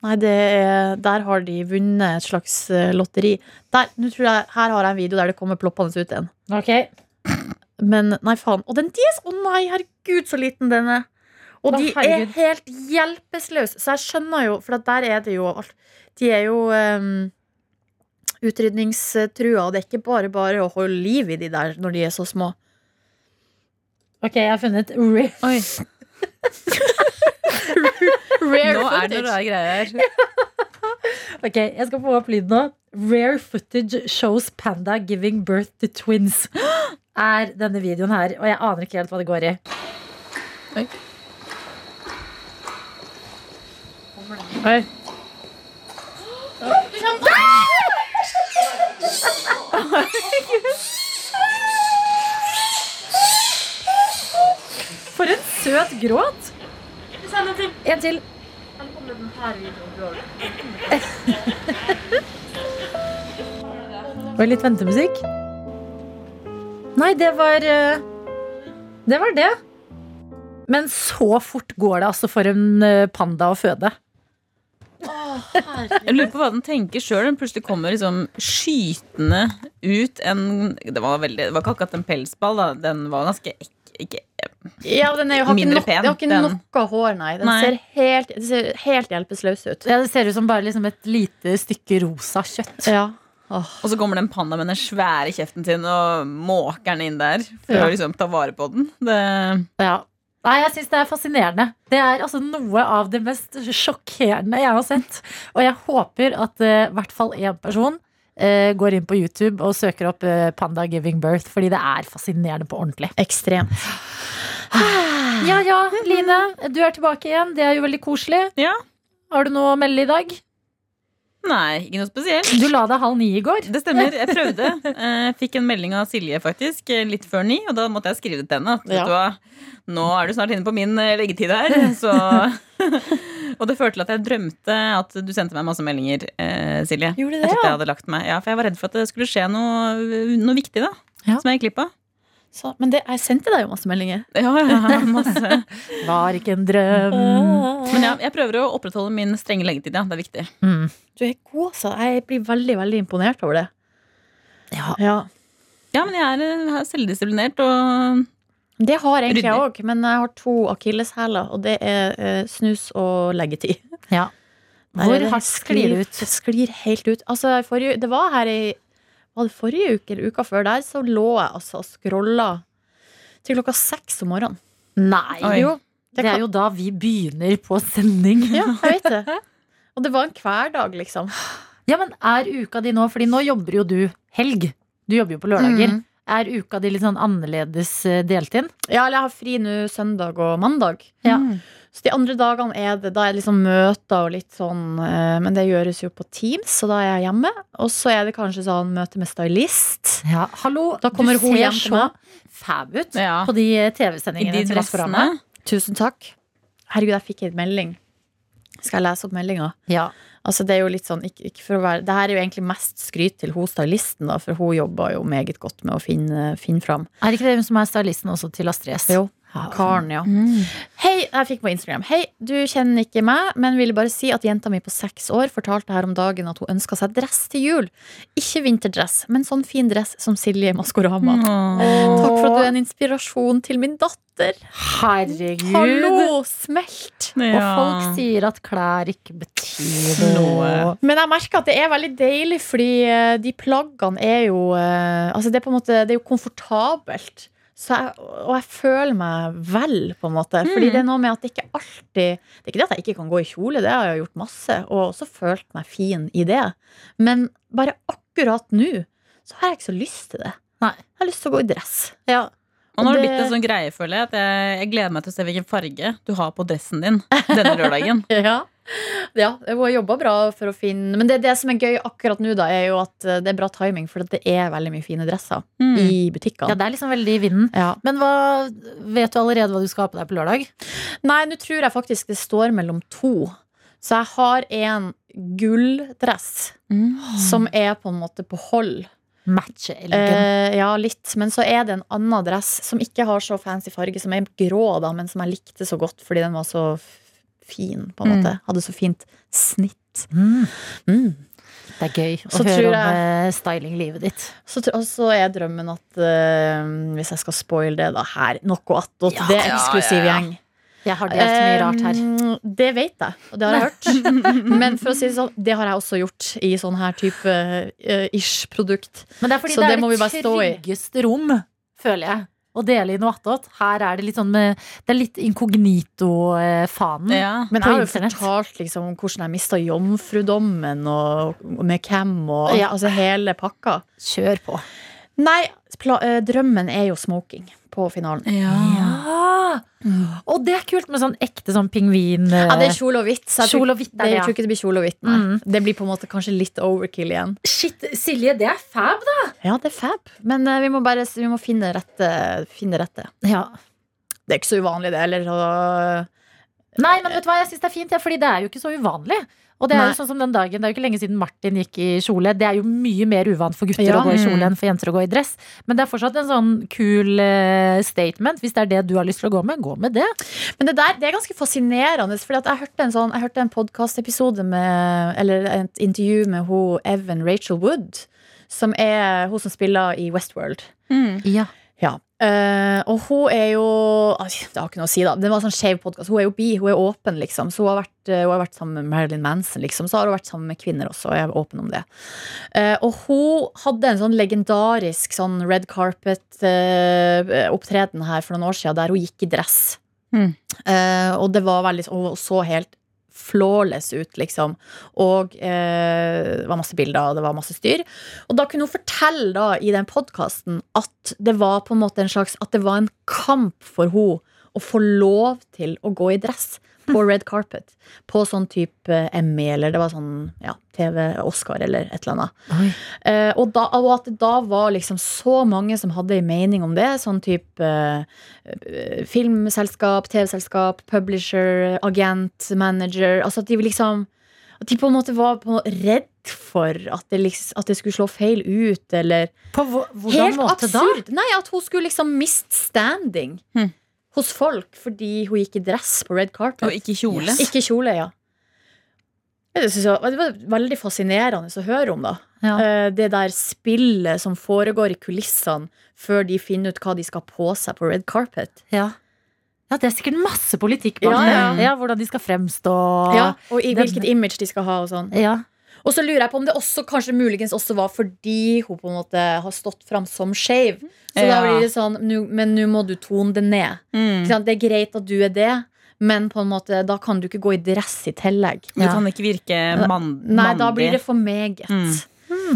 Speaker 8: Nei, det er, der har de vunnet et slags eh, lotteri. Der, nå tror jeg, her har jeg en video der det kommer ploppende ut en.
Speaker 2: Ok,
Speaker 8: Men nei, faen. Og den de er så- Å nei, herregud, så liten den er. Og
Speaker 2: Å,
Speaker 8: de er
Speaker 2: herregud.
Speaker 8: helt hjelpeløse. Så jeg skjønner jo, for at der er det jo alt De er jo um, utrydningstrua, og det er ikke bare bare å holde liv i de der når de er så små.
Speaker 2: ok, jeg har funnet riff.
Speaker 5: *laughs* Oi,
Speaker 8: Rare
Speaker 5: nå er det noe
Speaker 8: footage.
Speaker 5: rare greier her.
Speaker 2: Ok, jeg skal få opp lyden nå. Rare footage shows panda giving birth to twins. *gasps* Er denne videoen her, og jeg aner ikke helt hva det går i.
Speaker 5: Oi.
Speaker 2: Oi. *laughs* For en søt gråt! En til. Og litt ventemusikk. Nei, det var eh, Det var det. Men så fort går det altså for en eh, panda å føde.
Speaker 5: Jeg lurer på hva den tenker sjøl. Den plutselig kommer liksom skytende ut en Det var, veldig, det var ikke akkurat en pelsball, da. Den var ganske ek, ikke,
Speaker 8: Ja, den er jo, har ikke,
Speaker 5: Mindre
Speaker 8: nok,
Speaker 5: pen,
Speaker 8: den har ikke
Speaker 5: den.
Speaker 8: noe hår, nei. Den
Speaker 5: Nei.
Speaker 8: ser helt, den ser helt hjelpeløs ut.
Speaker 2: Ja, Det ser ut som bare liksom et lite stykke rosa kjøtt.
Speaker 8: Ja.
Speaker 5: Og så kommer det en panda med den svære kjeften sin og måker den inn der for
Speaker 2: Ja.
Speaker 5: å liksom ta vare på den. Det,
Speaker 2: Ja. Nei, jeg syns det er fascinerende. Det er altså noe av det mest sjokkerende jeg har sett. Og jeg håper at eh, i hvert fall én person eh, går inn på YouTube og søker opp eh, Panda giving birth, fordi det er fascinerende på ordentlig.
Speaker 8: Ekstremt.
Speaker 2: Ja ja, Line. Du er tilbake igjen. Det er jo veldig koselig.
Speaker 5: Ja.
Speaker 2: Har du noe å melde i dag?
Speaker 5: nei, ikke noe spesielt.
Speaker 2: Du la deg halv ni i går.
Speaker 5: Det stemmer. Jeg prøvde. Eh, fikk en melding av Silje faktisk eh, litt før ni, og da måtte jeg skrive det til henne. At, vet
Speaker 8: Ja.
Speaker 5: du hva, nå er du snart inne på min eh, leggetid
Speaker 8: *laughs*
Speaker 5: her. Så. *laughs* og det førte til at jeg drømte at du sendte meg masse meldinger, eh, Silje.
Speaker 8: Gjorde
Speaker 5: Jeg
Speaker 8: det,
Speaker 5: trodde jeg
Speaker 8: ja.
Speaker 5: hadde lagt meg. Ja, for jeg var redd for at det skulle skje noe, noe viktig, da.
Speaker 2: Ja.
Speaker 5: Som jeg gikk glipp av.
Speaker 8: Så, men det, jeg sendte deg jo masse meldinger.
Speaker 5: Ja, ja, ja, masse.
Speaker 2: Var ikke en drøm.
Speaker 5: Men ja, jeg prøver å opprettholde min strenge leggetid, ja. Det er viktig.
Speaker 2: Mm.
Speaker 8: Du er god, altså. Jeg blir veldig, veldig imponert over det.
Speaker 2: Ja.
Speaker 8: Ja.
Speaker 5: Ja, men jeg er, eh, selvdisiplinert og
Speaker 8: Det har egentlig jeg
Speaker 5: Ryddig.
Speaker 8: òg, men jeg har to akilleshæler, og det er eh, snus og leggetid.
Speaker 2: *laughs* Ja.
Speaker 8: Der
Speaker 2: Hvor
Speaker 8: er det-
Speaker 2: hardt sklir det ut?
Speaker 8: Det sklir helt ut. Altså, i forrige, det var her i var det forrige uke eller uka før der, så lå jeg altså og scrolla til klokka seks om morgenen.
Speaker 2: Nei,
Speaker 5: Oi.
Speaker 2: jo.
Speaker 8: Det
Speaker 2: Det,
Speaker 8: kan-
Speaker 2: er jo da vi begynner på sending.
Speaker 8: *laughs* Ja, jeg vet det. Og det var en hverdag, liksom.
Speaker 2: Ja, men er uka di nå, fordi nå jobber jo du helg. Du jobber jo på lørdager.
Speaker 8: Mm.
Speaker 2: Er uka di litt sånn annerledes eh, delt inn?
Speaker 8: Ja, eller jeg har fri nå søndag og mandag. Mm.
Speaker 2: Ja.
Speaker 8: Så de andre dagene er det da er det liksom møter og litt sånn eh, Men det gjøres jo på Teams, så da er jeg hjemme. Og så er det kanskje sånn møte med stylist.
Speaker 2: Ja, hallo,
Speaker 8: Da kommer
Speaker 2: du
Speaker 8: hun hjem
Speaker 2: ser
Speaker 8: til
Speaker 2: så
Speaker 8: meg.
Speaker 2: fab ut
Speaker 5: ja,
Speaker 2: på de eh,
Speaker 5: i de
Speaker 2: TV-sendingene til
Speaker 5: dressene.
Speaker 2: Maskorama.
Speaker 8: Tusen takk. Herregud, jeg fikk en melding. Skal jeg lese opp meldinga?
Speaker 2: Ja.
Speaker 8: Altså, det er jo litt sånn ikke, ikke for å være, Det her er jo egentlig mest skryt til hun stylisten, da, for hun jobber jo meget godt med å finne, finne fram.
Speaker 2: Er ikke det hun som er stylisten også til Astrid S?
Speaker 8: Jo.
Speaker 2: Ja.
Speaker 8: Karen, ja. Hei, jeg fikk på Instagram. Hei, du kjenner ikke meg, men ville bare si at jenta mi på seks år fortalte her om dagen at hun ønska seg dress til jul. Ikke vinterdress, men sånn fin dress som Silje i Maskorama.
Speaker 5: Åh.
Speaker 8: Takk for at du er en inspirasjon til min datter.
Speaker 2: Herregud.
Speaker 8: Hallo, smelt!
Speaker 2: Og
Speaker 5: Ja.
Speaker 2: folk sier at klær ikke betyr noe.
Speaker 8: Men jeg merker at det er veldig deilig, fordi eh, de plaggene er jo eh, Altså, det er på en måte Det er jo komfortabelt. Så jeg, og jeg føler meg vel, på en måte. Fordi det er noe med at det ikke alltid Det er ikke det at jeg ikke kan gå i kjole, det har jeg gjort masse, og også følt meg fin i det. Men bare akkurat nå så har jeg ikke så lyst til det.
Speaker 2: Nei.
Speaker 8: Jeg har lyst til å gå i dress.
Speaker 2: Ja.
Speaker 5: Og nå har det
Speaker 8: Det-
Speaker 5: blitt en sånn greie, føler jeg, at jeg, jeg gleder meg til å se hvilken farge du har på dressen din denne lørdagen.
Speaker 8: *laughs* *laughs* Ja. ja hun har jobba bra for å finne Men det, det som er gøy akkurat nå, da, er jo at eh, det er bra timing, for at det er veldig mye fine dresser
Speaker 5: Mm.
Speaker 8: i
Speaker 2: ja,
Speaker 8: butikkene.
Speaker 2: det er liksom veldig i vinden.
Speaker 8: Ja.
Speaker 2: Men hva, vet du allerede hva du skal ha på deg på lørdag?
Speaker 8: Nei, nå tror jeg faktisk det står mellom to. Så jeg har en gulldress
Speaker 5: Mm.
Speaker 8: som er på en måte på hold.
Speaker 2: Matche elgen.
Speaker 8: Eh, ja, litt. Men så er det en annen dress som ikke har så fancy farge, som er grå, da, men som jeg likte så godt fordi den var så f- fin, på en
Speaker 5: Mm.
Speaker 8: måte. Hadde så fint snitt.
Speaker 2: Mm.
Speaker 8: Mm.
Speaker 2: Det er gøy å
Speaker 8: Så
Speaker 2: høre
Speaker 8: tror
Speaker 2: om
Speaker 8: jeg-
Speaker 2: eh, stylinglivet ditt.
Speaker 8: Så, tr- og så er drømmen at eh, hvis jeg skal spoile det, da her Noe attåt.
Speaker 5: Ja,
Speaker 8: det er eksklusiv
Speaker 5: ja, ja, ja.
Speaker 8: gjeng.
Speaker 2: Jeg har delt mye rart her.
Speaker 8: Eh, Det vet jeg, og det har jeg hørt. Men for å si det sånn, det har jeg også gjort i sånn her type eh, ish-produkt.
Speaker 2: Men det er fordi
Speaker 8: Så
Speaker 2: det,
Speaker 8: det må vi
Speaker 2: er
Speaker 8: bare
Speaker 2: det
Speaker 8: stå i.
Speaker 2: tryggeste rom, føler jeg. Å dele i noe attåt. Her er det litt sånn med Det er litt inkognito-fanen.
Speaker 5: Ja.
Speaker 8: Men
Speaker 2: På
Speaker 8: jeg har jo
Speaker 2: internett.
Speaker 8: fortalt liksom, hvordan jeg mista jomfrudommen, og og med hvem, og
Speaker 2: Ja.
Speaker 8: altså hele pakka.
Speaker 2: Kjør på.
Speaker 8: Nei, pla eh, drømmen er jo smoking på finalen.
Speaker 5: Ja.
Speaker 2: Ja! Og det er kult med sånn ekte sånn pingvin eh,
Speaker 8: Ja, det er kjole og hvitt. Så jeg tror,
Speaker 2: Kjole og hvitt er
Speaker 8: det,
Speaker 2: det,
Speaker 8: jeg
Speaker 2: ja.
Speaker 8: tror ikke det blir kjole og hvitt. Nei.
Speaker 2: Mm.
Speaker 8: Det blir på en måte kanskje litt overkill igjen.
Speaker 2: Shit, Silje, det er fab, da!
Speaker 8: Ja, det er fab, men eh, vi må bare vi må finne rette. Finne rette.
Speaker 2: Ja.
Speaker 8: Det er ikke så uvanlig, det heller. og-
Speaker 2: Nei, men vet du hva, jeg syns det er fint, ja, fordi det er jo ikke så uvanlig. Og det er
Speaker 8: Nei.
Speaker 2: jo sånn som den dagen, det er jo ikke lenge siden Martin gikk i kjole. Det er jo mye mer uvant for gutter
Speaker 8: Ja.
Speaker 2: å gå i kjole
Speaker 5: Mm.
Speaker 2: enn for jenter å gå i dress. Men det er fortsatt en sånn kul eh, statement. Hvis det er det du har lyst til å gå med, gå med det.
Speaker 8: Men det der det er ganske fascinerende. Fordi at jeg hørte en, sånn, jeg hørte en podkastepisode med Eller et intervju med hun Evan Rachel Wood, som er hun som spiller i Westworld.
Speaker 5: Mm.
Speaker 2: Ja.
Speaker 8: Ja. Eh, og hun er jo Ai, Det har ikke noe å si, da. Det var en sånn skjev podkast. Hun er jo bi, hun er åpen, liksom. Så hun har vært, eh, hun har vært sammen med Marilyn Manson, liksom. Så har hun vært sammen med kvinner også, og jeg er åpen om det. Eh, og hun hadde en sånn legendarisk sånn red carpet-opptreden her for noen år siden, der hun gikk i dress.
Speaker 5: Mm.
Speaker 8: Eh, og det var veldig sånn- Hun så helt flawless ut, liksom. Og eh, det var masse bilder, og det var masse styr. Og da kunne hun fortelle da, i den podkasten at det var på en måte en slags At det var en kamp for hun å få lov til å gå i dress på red carpet. På sånn type Emmy, eller det var sånn ja, TV, Oscar eller et eller annet.
Speaker 2: Oi.
Speaker 8: Eh, og, da, og at det da var liksom så mange som hadde en mening om det. Sånn type eh, eh, filmselskap, TV-selskap, publisher, agent, manager. Altså at de liksom At de på en måte var på redd for at det, liksom, at det skulle slå feil ut, eller
Speaker 2: På hvo- hvordan
Speaker 8: Helt
Speaker 2: måte da?
Speaker 8: absurd! Nei, at hun skulle liksom miste standing
Speaker 5: Hm.
Speaker 8: hos folk fordi hun gikk i dress på red carpet.
Speaker 5: Og ikke kjole.
Speaker 8: Ikke kjole, ja. Det, synes jeg, det var veldig fascinerende å høre om, da.
Speaker 2: Ja.
Speaker 8: Eh, Det der spillet som foregår i kulissene før de finner ut hva de skal ha på seg på red carpet.
Speaker 2: Ja. ja, det er sikkert masse politikk bak
Speaker 8: Ja,
Speaker 2: det.
Speaker 8: ja.
Speaker 2: Ja, hvordan de skal fremstå.
Speaker 8: Ja, og i
Speaker 2: den-
Speaker 8: hvilket image de skal ha og sånn.
Speaker 2: Ja.
Speaker 8: Og så lurer jeg på om det også kanskje muligens også var fordi hun på en måte har stått fram som skeiv. Så da
Speaker 5: Ja.
Speaker 8: blir det sånn «Nu- Men nå må du tone det ned. Ikke
Speaker 5: Mm.
Speaker 8: sant? Det er greit at du er det, men på en måte, da kan du ikke gå i dress i tillegg.
Speaker 5: Du kan ikke virke mann,
Speaker 8: Nei, da
Speaker 5: mandig.
Speaker 8: blir det for meget.
Speaker 5: Mm.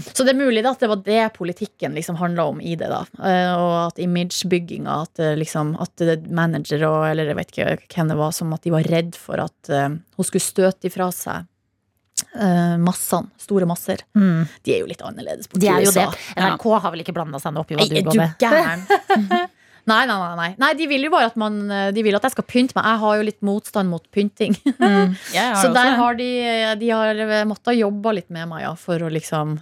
Speaker 8: Så det er mulig da, at det var det politikken liksom handla om i det. da Eh, Og at imagebygginga, at, eh, liksom, at det- manager og eller jeg vet ikke hvem det var, som at de var redd for at eh, hun skulle støte ifra seg eh, massene. Store masser.
Speaker 2: Mm.
Speaker 8: De er jo litt annerledes på
Speaker 2: De er jo det.
Speaker 8: USA.
Speaker 2: NRK har vel ikke blanda seg noe opp i hva
Speaker 8: Nei,
Speaker 2: du
Speaker 8: er
Speaker 2: går
Speaker 8: du
Speaker 2: med.
Speaker 8: gæren? Nei, nei, nei, nei. nei. De vil jo bare at, man, eh, de vil at jeg skal pynte meg. Jeg har jo litt motstand mot pynting.
Speaker 5: Mm. Jeg har
Speaker 8: Så
Speaker 5: jo
Speaker 8: der
Speaker 5: også det.
Speaker 8: har de, de har eh, måttet jobbe litt med meg, ja, for å liksom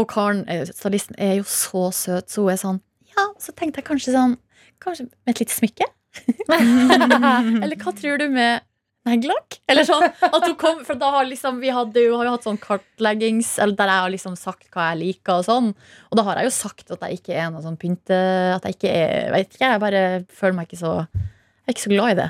Speaker 8: Og Karen, eh, stylisten, er jo så søt, så hun er sånn Ja, så tenkte jeg kanskje sånn Kanskje med et lite smykke? *laughs* Eller hva tror du med neglelakk? Eller sånn. At hun kom, for da har liksom, vi hadde jo, har jo hatt sånn kartleggings eller Der jeg har liksom sagt hva jeg liker og sånn. Og da har jeg jo sagt at jeg ikke er noe sånn pynte At jeg ikke er jeg Vet ikke, jeg bare føler meg ikke så Jeg er ikke så glad i det.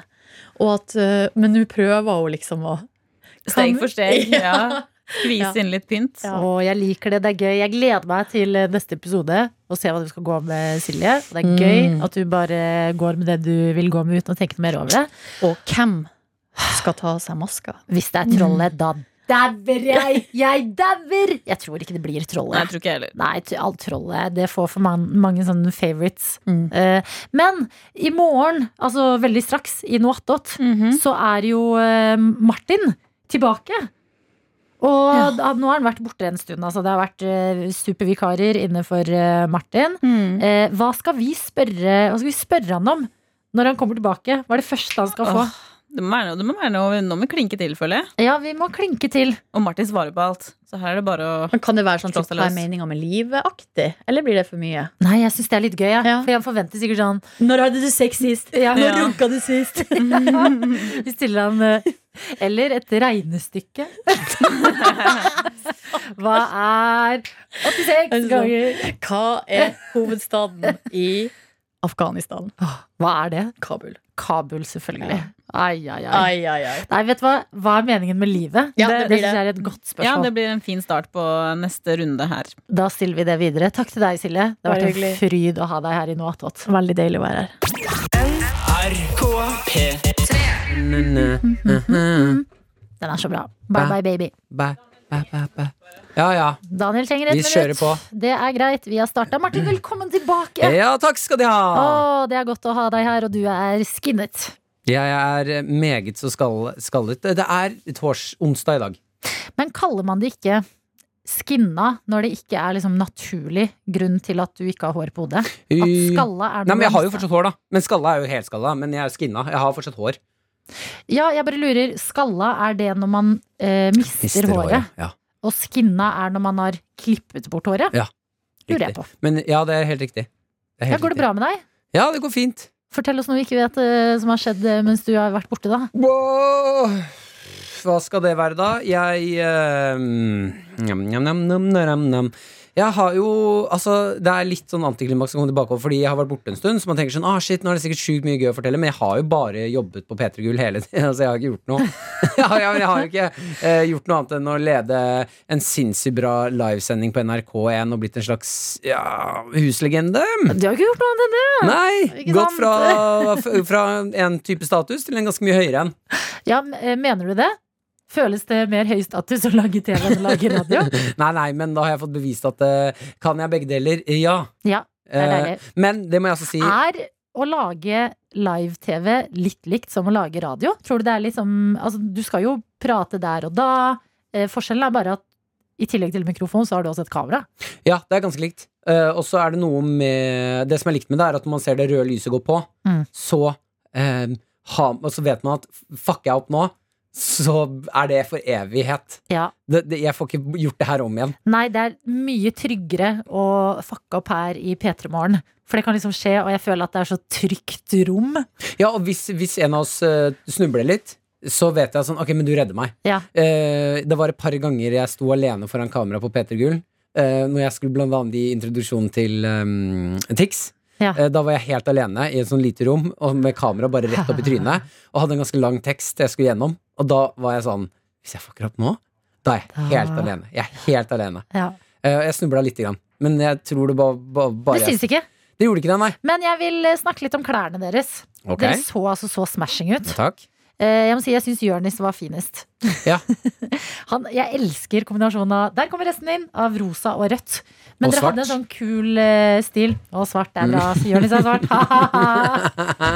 Speaker 8: Og at, eh, men nå prøver hun liksom å *laughs*
Speaker 5: Steg for steg. Ja. Skvis
Speaker 8: Ja.
Speaker 5: inn litt pynt.
Speaker 8: Ja.
Speaker 2: Og jeg liker det, det er gøy. Jeg gleder meg til eh, neste episode og se hva du skal gå med, Silje. Og Det er gøy
Speaker 8: Mm.
Speaker 2: at du bare går med det du vil gå med uten å tenke noe mer over det.
Speaker 8: Og hvem skal ta av seg maska?
Speaker 2: Hvis det er trollet, da dauer jeg! Jeg dauer! Jeg tror ikke det blir
Speaker 5: Nei, jeg
Speaker 2: trollet.
Speaker 5: tror ikke jeg heller.
Speaker 2: Nei, t- alt trollet. Det får for man, mange sånne favorites.
Speaker 8: Mm.
Speaker 2: Eh, men i morgen, altså veldig straks, i noe attåt,
Speaker 8: Mhm. Mm.
Speaker 2: så er jo eh, Martin tilbake. Og da, nå har han vært borte en stund. Altså, det har vært eh, supervikarer inne for eh, Martin.
Speaker 8: Mm.
Speaker 2: Eh, hva, skal vi spørre, hva skal vi spørre han om når han kommer tilbake? Hva er det første han skal få?
Speaker 5: Åh, det må være noe, det må være noe, nå må vi klinke til, føler jeg.
Speaker 2: Ja, vi må klinke til.
Speaker 5: Og Martin svarer på alt. Så her er det bare å
Speaker 8: Men kan det være sånn
Speaker 5: Slå
Speaker 8: typ,
Speaker 5: seg
Speaker 8: hva er
Speaker 5: løs.
Speaker 8: meninga med livet-aktig? Eller blir det for mye?
Speaker 2: Nei, jeg syns det er litt gøy. jeg.
Speaker 8: Ja.
Speaker 2: For han forventer sikkert sånn
Speaker 8: Når hadde du sex sist?
Speaker 2: ja,
Speaker 5: Når
Speaker 2: *laughs* runka du sist? Vi stiller han eh, Eller et
Speaker 8: *laughs*
Speaker 2: regnestykke. Hva er
Speaker 8: Altså,
Speaker 2: 86 ganger
Speaker 8: Hva er hovedstaden i Afghanistan?
Speaker 2: Hva er det?
Speaker 8: Kabul.
Speaker 2: Kabul, selvfølgelig. Ai, ai, ai.
Speaker 8: Ai, ai, ai.
Speaker 2: Nei, vet du hva? Hva er meningen med livet?
Speaker 8: Ja,
Speaker 2: det
Speaker 8: det
Speaker 2: det,
Speaker 8: blir
Speaker 2: synes
Speaker 8: det.
Speaker 2: jeg er et godt
Speaker 5: Ja,
Speaker 2: spørsmål.
Speaker 5: det blir en fin start på neste runde her.
Speaker 2: Da stiller vi det videre. Takk til deg, Silje. Det har
Speaker 8: Bare
Speaker 2: vært en fryd å ha deg her i Noe attåt.
Speaker 8: Veldig deilig å være her.
Speaker 2: Den er så bra. Bye bye, baby.
Speaker 6: Ja, ja.
Speaker 2: Daniel trenger
Speaker 6: Vi
Speaker 2: et
Speaker 6: kjører
Speaker 2: minutt.
Speaker 6: på.
Speaker 2: Det er greit. Vi har starta. Martin, velkommen tilbake.
Speaker 6: Ja, takk skal de
Speaker 2: Å,
Speaker 6: ha!
Speaker 2: det er godt å ha deg her, og du er skinnet.
Speaker 6: Jeg er meget så skall- skallet. Det er tors onsdag i dag.
Speaker 2: Men kaller man det ikke skinna når det ikke er liksom naturlig grunn til at du ikke har hår på hodet? At skalla er
Speaker 6: Nei, men jeg har jo
Speaker 2: mista.
Speaker 6: fortsatt hår, da. Men skalla er jo helskalla. Men jeg er skinna. Jeg har fortsatt hår.
Speaker 2: Ja, jeg bare lurer. Skalla er det når man eh, mister, håret,
Speaker 6: Ja,
Speaker 2: og skinna er når man har klippet bort håret? Lurer jeg
Speaker 6: riktig.
Speaker 2: på.
Speaker 6: Men ja, det er helt riktig. Det er
Speaker 2: Ja,
Speaker 6: helt
Speaker 2: går det
Speaker 6: riktig.
Speaker 2: bra med deg?
Speaker 6: Ja, det går fint.
Speaker 2: Fortell oss noe vi ikke vet eh, som har skjedd eh, mens du har vært borte, da.
Speaker 6: Wow. Hva skal det være, da? Jeg eh, nam, nam, nam, nam, nam, nam. Jeg har jo Altså, det er litt sånn antiklimaks å komme tilbake over, fordi jeg har vært borte en stund, så man tenker sånn ah, shit, nå er det sikkert sjukt mye gøy å fortelle, men jeg har jo bare jobbet på P3 Gull hele tiden, *laughs* altså jeg har ikke gjort noe. jeg, har, jeg har jo ikke eh, gjort noe annet enn å lede en sinnssykt bra livesending på NRK1 og blitt en slags ja, huslegende.
Speaker 2: Du har ikke gjort noe annet enn det!
Speaker 6: Nei!
Speaker 2: ikke
Speaker 6: Gått
Speaker 2: sant?
Speaker 6: fra, fra en type status til en ganske mye høyere en.
Speaker 2: Ja, m- eh, mener du det? Føles det mer høy status å lage TV enn å lage
Speaker 6: *laughs*
Speaker 2: radio?
Speaker 6: Nei, nei, men da har jeg fått bevist at eh, kan jeg begge deler? Ja.
Speaker 2: Ja, det er
Speaker 6: Eh,
Speaker 2: deilig. Ah.
Speaker 6: men det må jeg altså si.
Speaker 2: Er å lage live-TV litt likt som å lage radio? Tror du det er liksom Altså, du skal jo prate der og da. Eh, forskjellen er bare at i tillegg til mikrofon, så har du også et kamera.
Speaker 6: Ja, det er ganske likt. Eh, og så er det noe med Det som er likt med det, er at når man ser det røde lyset gå på,
Speaker 2: Mm.
Speaker 6: så eh, ha, Og så vet man at fucker jeg opp nå, så er det for evighet.
Speaker 2: Ja.
Speaker 6: Det, det, jeg får ikke gjort det her om igjen.
Speaker 2: Nei, det er mye tryggere å fucke opp her i P3 Morgen. For det kan liksom skje, og jeg føler at det er så trygt rom.
Speaker 6: Ja, og hvis, hvis en av oss eh, snubler litt, så vet jeg sånn Ok, men du redder meg.
Speaker 2: Ja.
Speaker 6: Eh, det var et par ganger jeg sto alene foran kamera på Peter Gull. eh, når jeg skulle blant annet gi introduksjonen til um, Tix.
Speaker 2: Ja.
Speaker 6: Eh, da var jeg helt alene i et sånn lite rom og med kamera bare rett opp i
Speaker 2: *laughs*
Speaker 6: trynet. Og hadde en ganske lang tekst jeg skulle gjennom. Og da var jeg sånn Hvis jeg fucker opp nå, da er jeg helt
Speaker 2: Da-
Speaker 6: alene. Jeg er helt alene.
Speaker 2: Ja.
Speaker 6: Eh, og jeg snubla lite grann. Men jeg tror det ba, ba,
Speaker 2: Det
Speaker 6: bare
Speaker 2: syns ikke.
Speaker 6: Det gjorde ikke det, nei.
Speaker 2: Men jeg vil eh, snakke litt om klærne deres.
Speaker 6: Ok,
Speaker 2: Dere så altså så smashing ut.
Speaker 6: Takk.
Speaker 2: Eh, Jeg må si, jeg syns Jørnis var finest.
Speaker 6: Ja.
Speaker 2: *laughs* Han, jeg elsker kombinasjonen av Der kommer resten inn! Av rosa og rødt. Men
Speaker 6: Og
Speaker 2: dere
Speaker 6: svart. Mm.
Speaker 2: hadde en sånn kul eh, stil. Å, svart er bra. Så Jørnis er
Speaker 6: *laughs*
Speaker 2: svart. *laughs* Ha-ha-ha.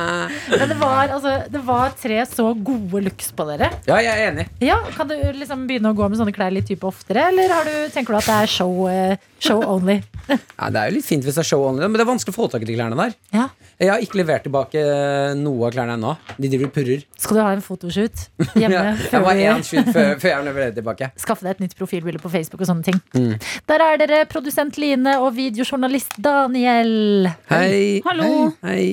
Speaker 2: Men det var, altså, det var tre så gode looks på dere.
Speaker 6: Ja, jeg er enig.
Speaker 2: Ja, Kan du liksom begynne å gå med sånne klær litt type oftere, eller har du, tenker du at det er show, eh, show only?
Speaker 6: Ja, det er jo litt fint hvis det er show only, men det er vanskelig å få tak i de klærne der.
Speaker 2: Ja.
Speaker 6: Jeg har ikke levert tilbake eh, noe av klærne ennå. De driver og purrer.
Speaker 2: Skal du ha en fotoshoot
Speaker 6: *laughs*
Speaker 2: hjemme?
Speaker 6: Jeg
Speaker 2: før
Speaker 6: var
Speaker 2: vi-
Speaker 6: én skyld før, før jeg leverte tilbake.
Speaker 2: skaffe deg et nytt profilbilde på Facebook og sånne ting.
Speaker 6: Mm.
Speaker 2: Der er dere produsent Line og videojournalist Daniel.
Speaker 6: Hei.
Speaker 5: Hallo.
Speaker 6: Hei. Hei.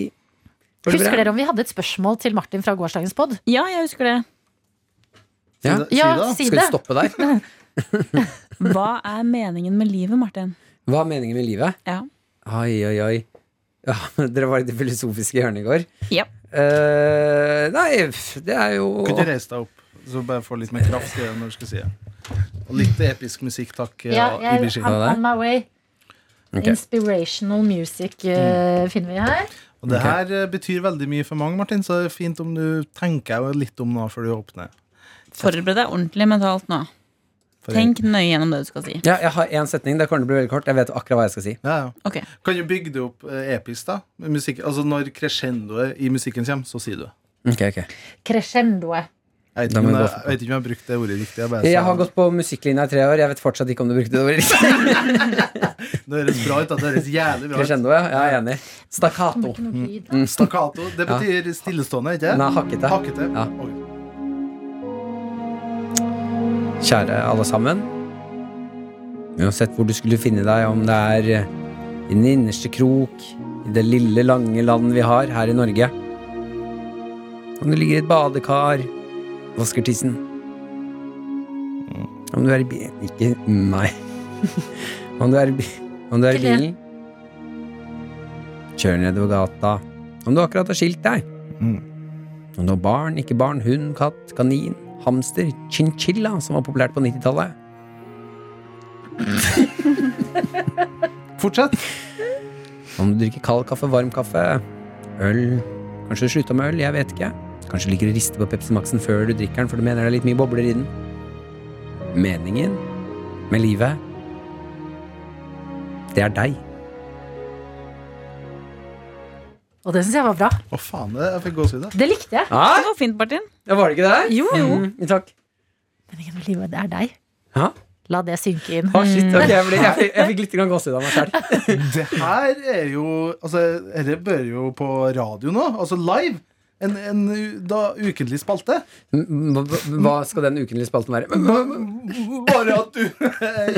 Speaker 6: Går det
Speaker 2: Husker
Speaker 6: bra?
Speaker 2: dere om vi hadde et spørsmål til Martin fra gårsdagens pod?
Speaker 5: Ja, jeg husker det.
Speaker 6: Ja.
Speaker 9: Si det-
Speaker 2: Ja,
Speaker 9: si det.
Speaker 2: si
Speaker 6: Skal
Speaker 2: det.
Speaker 6: du stoppe der?
Speaker 5: Hva er meningen med livet, Martin?
Speaker 6: Hva er meningen med livet?
Speaker 5: Ja.
Speaker 6: Oi, oi, oi. Ja, dere var i det filosofiske hjørnet i går.
Speaker 5: Ja.
Speaker 6: Eh, nei, pff, det er jo
Speaker 9: Kunne ikke reist deg opp.
Speaker 4: Så bare få litt mer kraft i det når du skal si det. Og litt episk musikk, takk.
Speaker 2: Ja,
Speaker 4: eh,
Speaker 2: jeg,
Speaker 4: Ibishi.
Speaker 2: I'm on my way. Inspirational music
Speaker 6: Mm.
Speaker 2: eh, finner vi her.
Speaker 4: Og det her eh, betyr veldig mye for mange, Martin, så det er fint om du tenker jo litt om det før du åpner.
Speaker 5: Forbered deg ordentlig mentalt nå.
Speaker 4: For-
Speaker 5: Tenk nøye gjennom det du skal si.
Speaker 6: Ja, jeg har én setning. Det kommer til å bli veldig kort. Jeg vet akkurat hva jeg skal si.
Speaker 4: Ja, ja.
Speaker 5: Ok.
Speaker 4: Kan du bygge det opp eh, episk, da? Med Musikk, altså Når crescendoet i musikken kommer, så sier du det.
Speaker 6: Ok, ok.
Speaker 2: Crescendoet.
Speaker 4: Jeg vet
Speaker 6: Da
Speaker 4: ikke
Speaker 6: må
Speaker 4: om
Speaker 6: jeg
Speaker 4: jeg,
Speaker 6: gå for-
Speaker 4: jeg vet ikke om jeg har brukt det ordet riktig. Jeg bare,
Speaker 6: Jeg har gått på musikklinja i tre år. Jeg vet fortsatt ikke om du brukte det ordet riktig.
Speaker 4: *laughs* Det høres bra ut. da. Det høres jævlig bra ut.
Speaker 6: Crescendo, ja. Jeg er enig. Stakkato. Mm.
Speaker 4: Stakkato. Det
Speaker 6: Ja.
Speaker 4: betyr stillestående, ikke
Speaker 6: Nei, hakkete.
Speaker 4: Hakkete.
Speaker 6: Ja.
Speaker 4: Ok.
Speaker 6: Kjære alle sammen. Uansett hvor du skulle finne deg, om det er eh, i den innerste krok, i det lille, lange land vi har her i Norge. Om du ligger i et badekar, vasker tissen. Om du er i bi... Ikke Nei. *laughs* Om du er i, bi om du er i
Speaker 2: Ikke det.
Speaker 6: bilen Kjør nedover gata. Om du akkurat har skilt deg. Om du har barn, ikke barn, hund, katt, kanin, hamster, chinchilla, som var populært på 90-tallet.
Speaker 4: Fortsett.
Speaker 6: Om du drikker kald kaffe, varm kaffe, øl Kanskje du slutta med øl, jeg vet ikke. Kanskje du liker å riste på Pepsi Max-en før du drikker den, for du mener det er litt mye bobler i den. Meningen med livet, det er deg.
Speaker 2: Og det syns jeg var bra.
Speaker 4: Å, faen. det- Jeg fikk gåsehud.
Speaker 2: Det likte jeg.
Speaker 5: Det var fint, Martin.
Speaker 6: Ja, var det ikke det?
Speaker 2: Jo, jo.
Speaker 6: Mm, takk.
Speaker 2: Meningen med livet, det er deg.
Speaker 6: Ja.
Speaker 2: La det synke inn.
Speaker 6: Å, shit, ok, jeg, ble, jeg, fikk- jeg fikk litt grann gåsehud av meg sjøl.
Speaker 4: Det her er jo Altså, dette bør jo på radio nå. Altså live. En, en u- da, ukentlig spalte.
Speaker 6: Mm, Hva skal den ukenlige spalten være? Mm,
Speaker 4: Bare at du *laughs*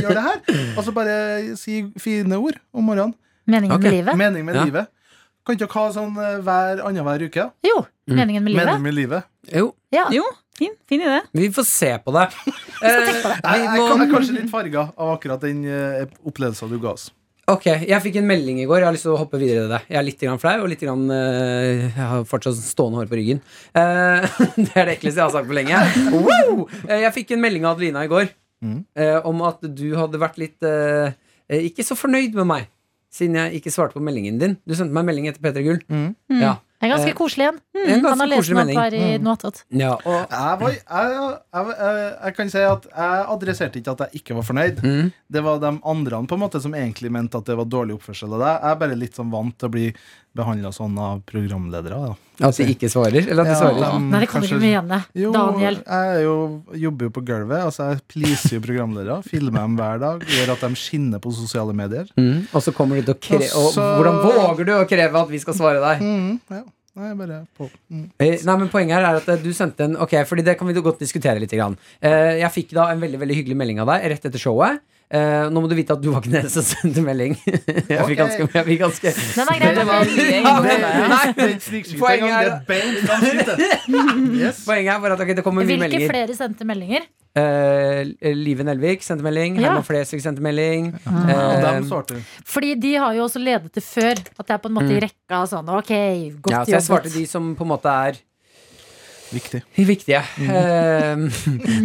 Speaker 4: gjør det her. Altså, bare si fine ord om morgenen.
Speaker 2: Meningen
Speaker 6: Ok.
Speaker 2: med livet?
Speaker 4: Mening med
Speaker 6: Ja.
Speaker 4: livet. Kan ikke dere ha sånn eh, hver annenhver uke? ja?
Speaker 2: Jo. Meningen med livet?
Speaker 4: Mening med livet.
Speaker 6: Mm. Jo,
Speaker 2: Ja.
Speaker 5: Jo, fin, fin idé.
Speaker 6: vi får se på det.
Speaker 4: Jeg, jeg,
Speaker 6: må-
Speaker 4: jeg er kanskje litt farga av akkurat den eh, opplevelsen du ga oss.
Speaker 6: Ok, Jeg fikk en melding i går. Jeg har lyst til å hoppe videre i det. Jeg er litt grann flau og litt grann, eh, jeg har fortsatt stående hår på ryggen. Eh, *laughs* det er det ekleste jeg har sagt på lenge. Wow! Eh, jeg fikk en melding av Adelina i går eh, om at du hadde vært litt eh, eh, ikke så fornøyd med meg siden jeg ikke svarte på meldingen din. Du sendte meg en melding etter P3 Gull. Ja.
Speaker 2: En ganske
Speaker 6: Eh,
Speaker 2: koselig en.
Speaker 6: en ganske
Speaker 2: Han har lest
Speaker 6: koselig
Speaker 2: den opp
Speaker 6: melding. Mm.
Speaker 2: her i Noatot.
Speaker 6: ja, og
Speaker 4: Jeg, var, jeg, jeg, jeg, jeg kan si at jeg adresserte ikke at jeg ikke var fornøyd.
Speaker 6: mm,
Speaker 4: Det var de andre på en måte som egentlig mente at det var dårlig oppførsel av deg. Jeg er bare litt sånn vant til å bli behandla sånn av programledere. Da.
Speaker 6: At de ikke svarer? Eller at de svarer?
Speaker 4: de
Speaker 2: Nei, det kommer
Speaker 4: kanskje-
Speaker 2: ikke mye igjen, det.
Speaker 4: Jo,
Speaker 2: Daniel.
Speaker 4: jeg er jo, jobber jo på gulvet. Altså Jeg pleaser jo programledere. Filmer dem hver dag. Gjør at de skinner på sosiale medier.
Speaker 6: Mm, og så kommer du til å kreve
Speaker 4: Og så-
Speaker 6: Hvordan våger du å kreve at vi skal svare deg?
Speaker 4: Mm, ja. Nei, bare på. Mm.
Speaker 6: Eh, Nei, men Poenget her er at eh, du sendte en Ok, fordi det kan vi jo godt diskutere litt. Grann. Eh, Jeg fikk da en veldig veldig hyggelig melding av deg rett etter showet. Eh, Nå må du vite at du var ikke den eneste som sendte melding. Jeg
Speaker 4: Ok.
Speaker 6: fikk ganske, *laughs* jeg fikk ganske
Speaker 2: Den er grei.
Speaker 6: Det
Speaker 2: da.
Speaker 6: var mye innhold.
Speaker 4: Nei, det er ikke
Speaker 6: Poenget
Speaker 4: snikskyting engang. Det
Speaker 6: er-
Speaker 4: er beint fram
Speaker 6: *laughs*
Speaker 4: skytet. Yes.
Speaker 6: Poenget er bare at ok, det kommer mye
Speaker 2: Hvilke
Speaker 6: meldinger.
Speaker 2: flere sendte meldinger?
Speaker 6: Eh, Live Nelvik sendte melding.
Speaker 2: Ja.
Speaker 6: Herman Flesvig sendte melding.
Speaker 4: Og
Speaker 6: Eh,
Speaker 4: dem svarte du.
Speaker 2: Fordi de har jo også ledet det før. At det er på en måte i rekka og sånn. Ok, godt
Speaker 6: Mm. ja, så jeg svarte de som på en måte er
Speaker 4: Viktig.
Speaker 6: Viktige. Eh,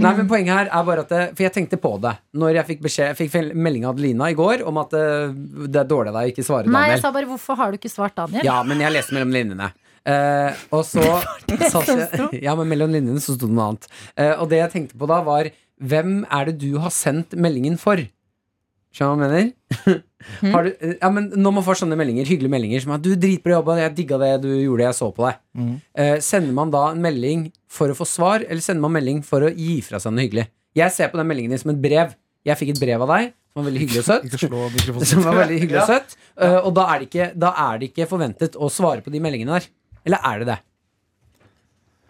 Speaker 6: nei, men poenget her er bare at det, For jeg tenkte på det Når jeg fikk, beskjed, jeg fikk fel- melding av Adelina i går om at eh, det er dårlig av deg å ikke svare,
Speaker 2: Nei, jeg
Speaker 6: Daniel.
Speaker 2: sa bare 'hvorfor har du ikke svart Daniel'?
Speaker 6: Ja, men jeg leste mellom linjene. Eh, og så satt jeg, Ja, men mellom linjene så sto det noe annet. Eh, og det jeg tenkte på da, var hvem er det du har sendt meldingen for? Skjønner du hva *laughs* jeg mener? har du, eh, ja, men når man får sånne meldinger, hyggelige meldinger som at 'du, dritbra jobba, jeg digga det du gjorde, jeg så på deg',
Speaker 4: Mhm.
Speaker 6: eh, sender man da en melding for å få svar, eller sender man melding for å gi fra seg noe hyggelig? Jeg ser på den meldingen din som et brev. Jeg fikk et brev av deg som var veldig hyggelig og søtt.
Speaker 4: Ikke slå mikrofonen.
Speaker 6: Som var veldig hyggelig
Speaker 4: Ja.
Speaker 6: og søtt. Eh, og da er, det ikke, da er det ikke forventet å svare på de meldingene der. Eller er det det?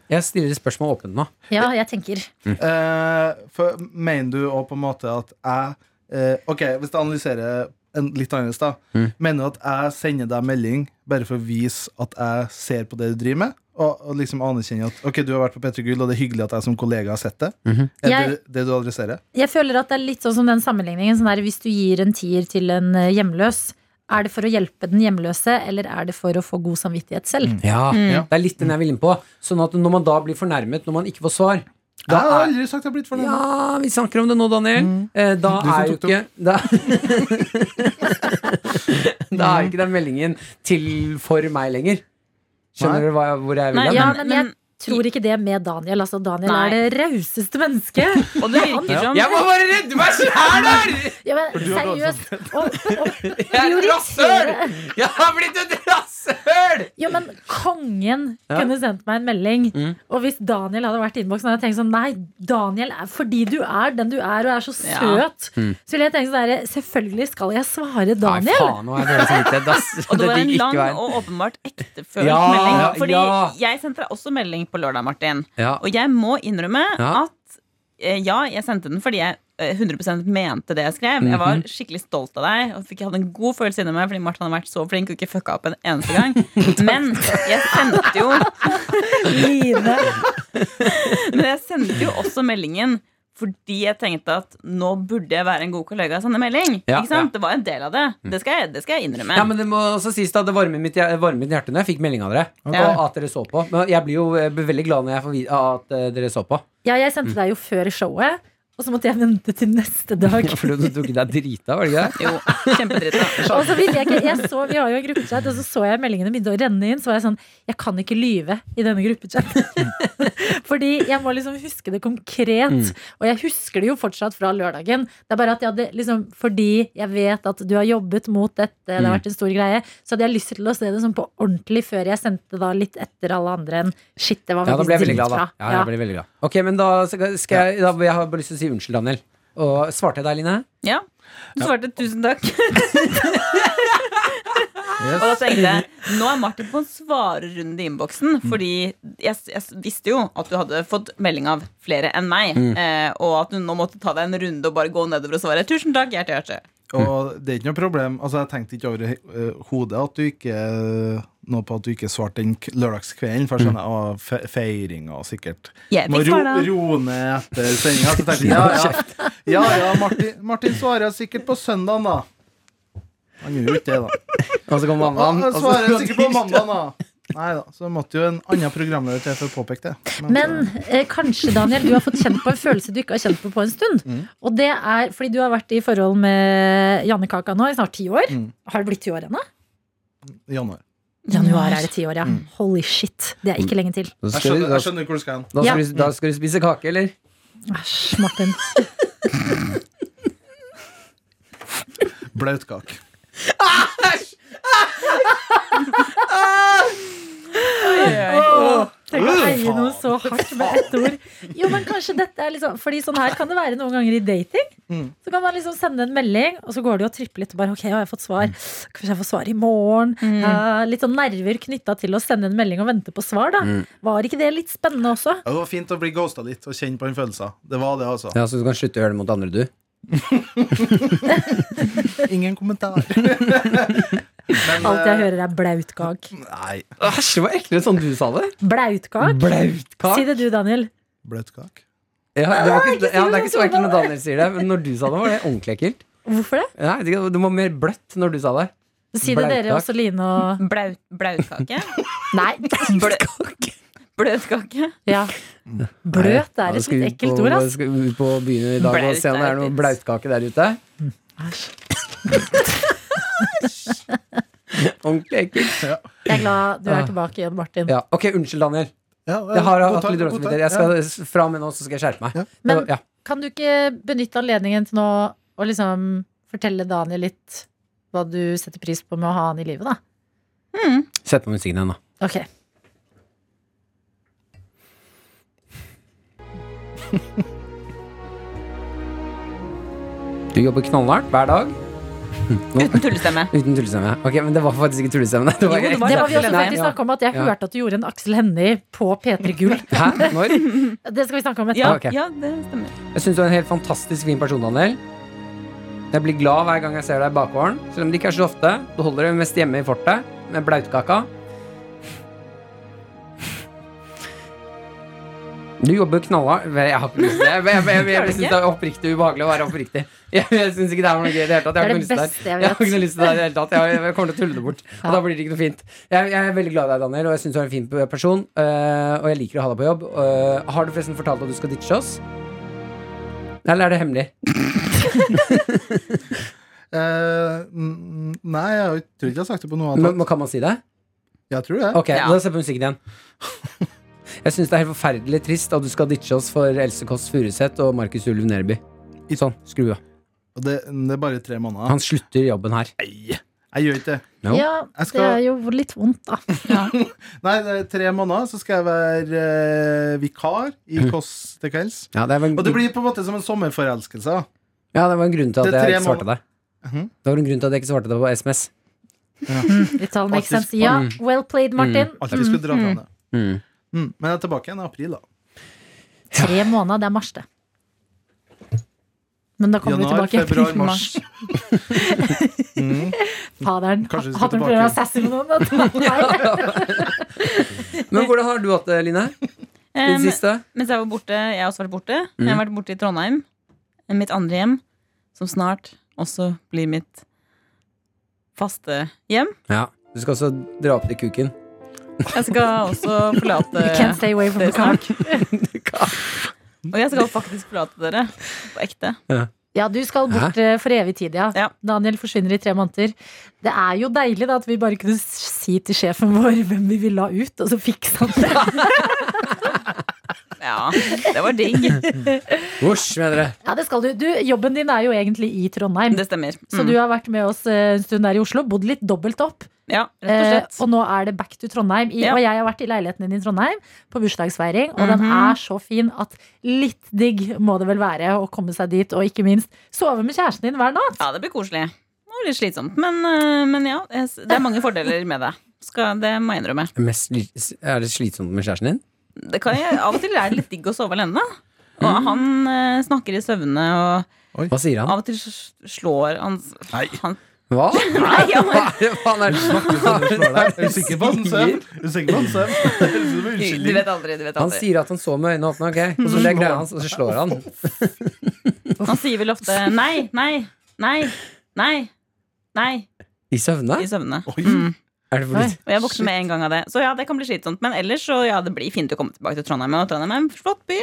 Speaker 6: Jeg stiller spørsmål åpent nå.
Speaker 2: Ja, jeg tenker.
Speaker 4: Eh, for mener du òg på en måte at jeg eh, Ok, hvis jeg analyserer en litt annerledes, da.
Speaker 6: Mm.
Speaker 4: Mener du at jeg sender deg melding bare for å vise at jeg ser på det du driver med? Og, og liksom anerkjenner at Ok, du har vært på P3 Gull, og det er hyggelig at jeg som kollega har sett det?
Speaker 6: Mhm.
Speaker 4: Er
Speaker 2: Jeg-
Speaker 4: det det du adresserer?
Speaker 2: Jeg føler at det er litt sånn som den sammenligningen. Sånn der, hvis du gir en tier til en eh, hjemløs, er det for å hjelpe den hjemløse, eller er det for å få god samvittighet selv?
Speaker 6: Ja,
Speaker 4: Ja.
Speaker 6: Det er litt den jeg vil inn på. Sånn at når man da blir fornærmet når man ikke får svar,
Speaker 9: Det har jeg aldri sagt jeg har blitt fornærmet.
Speaker 6: Ja, vi snakker om det nå, Daniel. Eh, da
Speaker 9: Du som
Speaker 6: er jo
Speaker 9: tok det
Speaker 6: ikke da, da er jo ikke den meldingen til for meg lenger. Skjønner du hva, hvor jeg vil
Speaker 2: Nei,
Speaker 6: hen?
Speaker 2: ja, men jeg tror ikke det med Daniel. Altså, Daniel
Speaker 6: Nei.
Speaker 2: er det rauseste
Speaker 6: *laughs*
Speaker 2: mennesket.
Speaker 5: Og det virker
Speaker 6: Ja.
Speaker 5: som
Speaker 6: Jeg må bare redde meg sjæl her!
Speaker 2: Ja, men
Speaker 6: For du har dårlig
Speaker 2: seriøst.
Speaker 6: *laughs* Jeg er et rasshøl! Jeg har blitt et rasshøl!
Speaker 2: Ja, men kongen
Speaker 6: Ja.
Speaker 2: kunne sendt meg en melding.
Speaker 6: Mm.
Speaker 2: Og hvis Daniel hadde vært i innboksen, hadde jeg tenkt sånn Nei, Daniel, er, fordi du er den du er, og er så
Speaker 6: Ja.
Speaker 2: søt,
Speaker 6: Mm.
Speaker 2: så ville jeg tenkt sånn der, Selvfølgelig skal jeg svare
Speaker 6: Nei,
Speaker 2: Daniel.
Speaker 6: faen, nå er det samvittighet, ass.
Speaker 5: Og det var en
Speaker 6: gikk ikke
Speaker 5: lang
Speaker 6: veien.
Speaker 5: og åpenbart ektefølt
Speaker 6: Ja,
Speaker 5: melding.
Speaker 6: ja,
Speaker 5: Fordi
Speaker 6: ja.
Speaker 5: jeg sendte deg også melding på lørdag, Martin.
Speaker 6: Ja.
Speaker 5: Og jeg må innrømme
Speaker 6: Ja.
Speaker 5: at eh, ja, jeg sendte den fordi jeg eh, 100 mente det jeg skrev. Jeg var
Speaker 6: Mhm.
Speaker 5: skikkelig stolt av deg og fikk, hadde en god følelse inni meg fordi Martin hadde vært så flink og ikke fucka opp en eneste
Speaker 6: *laughs*
Speaker 5: gang. Men jeg sendte jo
Speaker 2: Line.
Speaker 5: Men jeg sendte jo også meldingen fordi jeg tenkte at nå burde jeg være en god kollega og sende melding.
Speaker 6: Ja,
Speaker 5: ikke sant?
Speaker 6: ja.
Speaker 5: Det var en del av det. Det skal jeg, det skal jeg innrømme.
Speaker 6: Ja, men det må også sies da Det varmet mitt, det varmet mitt hjerte når jeg fikk melding av dere.
Speaker 5: Ja.
Speaker 6: Og at dere så på. Men jeg blir jo eh, veldig glad når jeg får vite at eh, dere så på.
Speaker 2: Ja, jeg sendte deg jo før showet, og så måtte jeg vente til neste dag.
Speaker 6: *laughs* For du tok deg drita, var det ikke det?
Speaker 5: Jo, kjempedritt. da.
Speaker 2: Og så ville jeg ikke, jeg så, Vi har jo en gruppechat, og så så jeg meldingene begynte å renne inn. Så var jeg sånn Jeg kan ikke lyve i denne gruppechatten. *laughs* Fordi jeg må liksom huske det konkret.
Speaker 11: Mm.
Speaker 2: Og jeg husker det jo fortsatt fra lørdagen. Det er bare at jeg hadde liksom Fordi jeg vet at du har jobbet mot dette, det har
Speaker 11: Mm.
Speaker 2: vært en stor greie, så hadde jeg lyst til å se det sånn på ordentlig før jeg sendte det da litt etter alle andre enn Shit, det var
Speaker 6: Ja, da ble
Speaker 2: faktisk
Speaker 6: jeg veldig glad, da.
Speaker 2: dritbra.
Speaker 6: Ja, jeg ble veldig glad. Ok, men da skal skal jeg da, Jeg har bare lyst til å si unnskyld, Daniel. Og svarte jeg deg, Line?
Speaker 5: Ja. Du svarte 'tusen
Speaker 2: *laughs*
Speaker 5: takk'. Og da
Speaker 6: Yes.
Speaker 5: tenkte jeg nå er Martin på en svarerunde i
Speaker 6: Mm.
Speaker 5: innboksen. Fordi jeg, jeg visste jo at du hadde fått melding av flere enn meg.
Speaker 4: Mm.
Speaker 5: Eh, og at du nå måtte ta deg en runde og bare gå nedover og svare 'tusen takk', hjerte, hjerte.
Speaker 4: Og det er ikke noe problem. Altså, jeg tenkte ikke over eh, hodet at du ikke eh, noe på at du ikke svarte den k- lørdagskvelden, for jeg skjønner mm. fe feiringa sikkert.
Speaker 5: Jeg
Speaker 4: Må
Speaker 5: fikk
Speaker 4: ro,
Speaker 5: svare.
Speaker 4: roe ned etter sendinga. Så tenkte jeg ja, ja, ja, ja Martin, Martin svarer sikkert på søndagen, da. Han gjorde jo ikke det, da.
Speaker 6: Og så kom mammaen.
Speaker 4: Han
Speaker 6: og så-
Speaker 4: svarer *laughs* sikkert på mandag, da. Nei da. Så måtte jo en annen programleder til for å påpeke det.
Speaker 2: Men eh, kanskje, Daniel, du har fått kjent på en følelse du ikke har kjent på på en stund.
Speaker 6: Mm.
Speaker 2: Og det er fordi du har vært i forhold med Janne Kaka nå i snart ti år.
Speaker 4: Mm.
Speaker 2: Har det blitt ti år ennå?
Speaker 4: Januar.
Speaker 2: Januar er det ti år, ja.
Speaker 6: Mm.
Speaker 2: Holy shit. Det er ikke lenge til.
Speaker 6: Da
Speaker 4: Jeg
Speaker 6: skal vi-
Speaker 4: skjønner,
Speaker 6: da-
Speaker 4: jeg skjønner hvor du skal hen.
Speaker 6: Da skal,
Speaker 2: Ja.
Speaker 6: du, da skal du spise kake, eller?
Speaker 2: Æsj, Martin.
Speaker 4: Blautkake.
Speaker 2: Åh, Tenk å eie noe så hardt med ett ord. Jo, men kanskje dette er liksom Fordi sånn her kan det være noen ganger i dating.
Speaker 4: Mm.
Speaker 2: Så kan man liksom sende en melding, og så går det jo og tripper litt. Og bare, ok, har jeg fått svar?
Speaker 6: Mm.
Speaker 2: Kanskje jeg får svar i morgen? Eh, litt sånn nerver knytta til å sende en melding og vente på svar, da.
Speaker 4: Mm.
Speaker 2: Var ikke det litt spennende også?
Speaker 4: Ja, Det var fint å bli ghosta litt og kjenne på den følelsen. Det var det, altså.
Speaker 6: Ja, Så du kan slutte å gjøre det mot andre, du?
Speaker 4: *laughs* Ingen kommentar. *laughs* Men,
Speaker 2: Alt jeg
Speaker 4: eh,
Speaker 2: hører, er blautkak.
Speaker 4: Nei.
Speaker 6: Æsj, det var eklere sånn du sa det.
Speaker 2: Blautkak?
Speaker 6: Blautkak?
Speaker 2: Si det du, Daniel.
Speaker 4: Bløtkake.
Speaker 6: Ja, det, var ikke, ja, det er ikke så
Speaker 2: sånn,
Speaker 6: ekkelt når Daniel sier det, men når du sa det, var det ordentlig ekkelt.
Speaker 2: Hvorfor det?
Speaker 6: Nei, jeg vet ikke, det var mer bløtt når du sa det.
Speaker 2: Si det dere også, Line og
Speaker 5: Blaut, *laughs* blautkake?
Speaker 2: Nei. *laughs*
Speaker 5: Bløtkake?
Speaker 2: Ja.
Speaker 6: Mm.
Speaker 2: Bløt er et litt ekkelt ord, ass.
Speaker 6: Skal vi ut på byen i dag og
Speaker 2: Blaut
Speaker 6: se om det
Speaker 2: er
Speaker 6: er noe
Speaker 2: et-
Speaker 6: blautkake der ute? Ordentlig ekkelt.
Speaker 2: Jeg er glad du er tilbake igjen, Martin.
Speaker 6: Ja. Ok, unnskyld, Daniel.
Speaker 4: Ja,
Speaker 6: Jeg har
Speaker 2: god
Speaker 6: hatt
Speaker 2: takk,
Speaker 6: litt dårlig
Speaker 2: god
Speaker 6: samvittighet. Jeg
Speaker 2: takk,
Speaker 6: skal- Fra og med nå så skal jeg skjerpe meg.
Speaker 2: Men-
Speaker 6: ja.
Speaker 2: Kan du ikke benytte anledningen til nå å liksom fortelle Daniel litt hva du setter pris på med å ha han i livet, da?
Speaker 6: Sett på musikken igjen, da.
Speaker 2: Ok.
Speaker 6: Du jobber knallhardt hver dag.
Speaker 5: Uten tullestemme.
Speaker 6: Uten tullestemme. Ok, men det var faktisk ikke tullestemme. Det var,
Speaker 2: Det var vi også faktisk snakket om, at jeg
Speaker 6: Ja.
Speaker 2: hørte at du gjorde en Aksel Hennie på P3
Speaker 6: *laughs*
Speaker 2: Gull.
Speaker 6: Hæ? Når?
Speaker 2: Det skal vi snakke om etterpå.
Speaker 6: Ja, Ok. ja,
Speaker 5: det stemmer.
Speaker 6: Jeg syns du er en helt fantastisk fin person, Daniel. Jeg blir glad hver gang jeg ser deg i bakgården, selv om det ikke er så ofte. Du holder deg mest hjemme i fortet med blautkaka. Du jobber knallhardt. Jeg har ikke lyst til det. Jeg, jeg, jeg, jeg,
Speaker 5: Gjør du
Speaker 6: jeg synes det er oppriktig ubehagelig å være oppriktig. Jeg, jeg syns ikke det er noe gøy i det hele tatt. Jeg har
Speaker 5: Det er
Speaker 6: ikke noe lyst
Speaker 5: det beste
Speaker 6: til det.
Speaker 5: jeg vet.
Speaker 6: her. Jeg har ikke noe lyst til det her i det hele tatt. Jeg, jeg kommer til å tulle det bort. Og da blir det ikke noe fint. Jeg, jeg er veldig glad i deg, Daniel, og jeg syns du er en fin person. øh, Og jeg liker å ha deg på jobb. Øh, Har du forresten fortalt at du skal ditche oss? Eller er det hemmelig?
Speaker 4: Eh, mm, nei, jeg har- tror ikke jeg har sagt det på noe
Speaker 6: Men,
Speaker 4: annet.
Speaker 6: men kan man si det?
Speaker 4: Jeg tror det.
Speaker 6: Ok, da ser vi på musikken igjen. *laughs* Jeg syns det er helt forferdelig trist at du skal ditche oss for Else Kåss Furuseth og Markus Ulv Nerby. Sånn, skru av.
Speaker 4: Og det, det er bare tre måneder.
Speaker 6: Han slutter jobben her.
Speaker 4: Jeg gjør ikke det.
Speaker 6: No.
Speaker 2: Ja,
Speaker 4: Jeg
Speaker 2: det
Speaker 4: skal-
Speaker 2: er jo litt vondt, da.
Speaker 4: Nei, det er tre måneder, så skal jeg være eh, vikar i
Speaker 6: Mhm.
Speaker 4: Kåss til kvelds.
Speaker 6: Ja, det var en-
Speaker 4: Og det blir på en måte som en sommerforelskelse. da.
Speaker 6: Ja, det var en grunn til at
Speaker 4: Det er
Speaker 6: jeg
Speaker 4: tre
Speaker 6: ikke svarte
Speaker 4: måneder.
Speaker 6: deg. Mhm. Det var en grunn til at jeg ikke svarte deg på SMS.
Speaker 2: It all makes
Speaker 4: Alltid-
Speaker 2: sense. Ja,
Speaker 6: Mm.
Speaker 2: well played, Martin.
Speaker 6: Mm.
Speaker 4: Alltid skulle dra fram det.
Speaker 6: Mm.
Speaker 4: Mm. Men jeg er tilbake igjen i april, da.
Speaker 2: Tre måneder, det er mars, det. Men da kommer
Speaker 4: Januar,
Speaker 2: du tilbake i april, *laughs*
Speaker 4: februar, mars.
Speaker 2: Faderen.
Speaker 6: Kanskje vi skal
Speaker 2: Hadde hun
Speaker 6: tilbake.
Speaker 2: prøvd å være sassy med noen?
Speaker 6: Men hvordan har du hatt det, Line? Den
Speaker 5: Em,
Speaker 6: siste?
Speaker 5: Eh, Mens jeg var borte, jeg har også vært borte.
Speaker 6: Mm.
Speaker 5: Jeg har vært borte i Trondheim. eh, Mitt andre hjem, som snart også blir mitt faste hjem.
Speaker 6: Ja. Du skal også dra opp til kuken.
Speaker 5: Jeg skal også
Speaker 2: *laughs*
Speaker 5: forlate
Speaker 2: You can't stay away from
Speaker 5: dere
Speaker 2: the cock.
Speaker 5: Og jeg skal faktisk forlate dere. På ekte.
Speaker 2: Ja, du skal bort eh, for evig tid, ja. Daniel forsvinner i tre måneder. Det er jo deilig da at vi bare kunne s- si til sjefen vår hvem vi ville ha ut, og så fiksa han det.
Speaker 5: Ja, det var
Speaker 2: *laughs*
Speaker 5: digg.
Speaker 6: Husj, mener dere.
Speaker 2: Ja, det skal du. du. Jobben din er jo egentlig i Trondheim.
Speaker 5: Det stemmer. Mm.
Speaker 2: Så du har vært med oss eh, en stund der i Oslo, bodd litt dobbelt opp.
Speaker 5: Ja, rett og slett.
Speaker 2: Eh, og nå er det back to Trondheim. I,
Speaker 5: Ja.
Speaker 2: Og jeg har vært i leiligheten din i Trondheim på bursdagsfeiring, og den
Speaker 5: Mhm.
Speaker 2: er så fin at litt digg må det vel være å komme seg dit, og ikke minst sove med kjæresten din hver natt.
Speaker 5: Ja, det blir koselig. Det var litt slitsomt, men, eh, men ja. jeg s- Det er mange fordeler med det. Skal, det må jeg innrømme.
Speaker 7: Mm.
Speaker 6: Mest, sli- er det slitsomt med kjæresten din?
Speaker 5: Det kan jeg, av og til er det litt digg å sove alene. da. Og han eh, snakker i søvne, og
Speaker 6: Hva sier han?
Speaker 5: av og til s- slår han s- Han,
Speaker 6: Hva?
Speaker 5: Nei, ja, men-
Speaker 6: Hva er det
Speaker 4: Er du sikker på at han sover? Er du sikker på at han
Speaker 6: *laughs*
Speaker 4: sover? Det høres ut som en unnskyldning.
Speaker 5: du vet aldri. Du vet
Speaker 6: Han
Speaker 5: aldri.
Speaker 6: sier at han så med øynene åpne, ok. Og så det er greia hans, og så slår han.
Speaker 5: Han sier vel ofte nei, nei, nei, nei. Nei.
Speaker 6: I søvne?
Speaker 5: I søvne.
Speaker 6: Mm. Er
Speaker 5: Oi.
Speaker 6: det fordi
Speaker 5: Og jeg våkner med en gang av det. Så ja, det kan bli slitsomt. Men ellers så ja, det blir fint å komme tilbake til Trondheim. Og Trondheim er en flott by.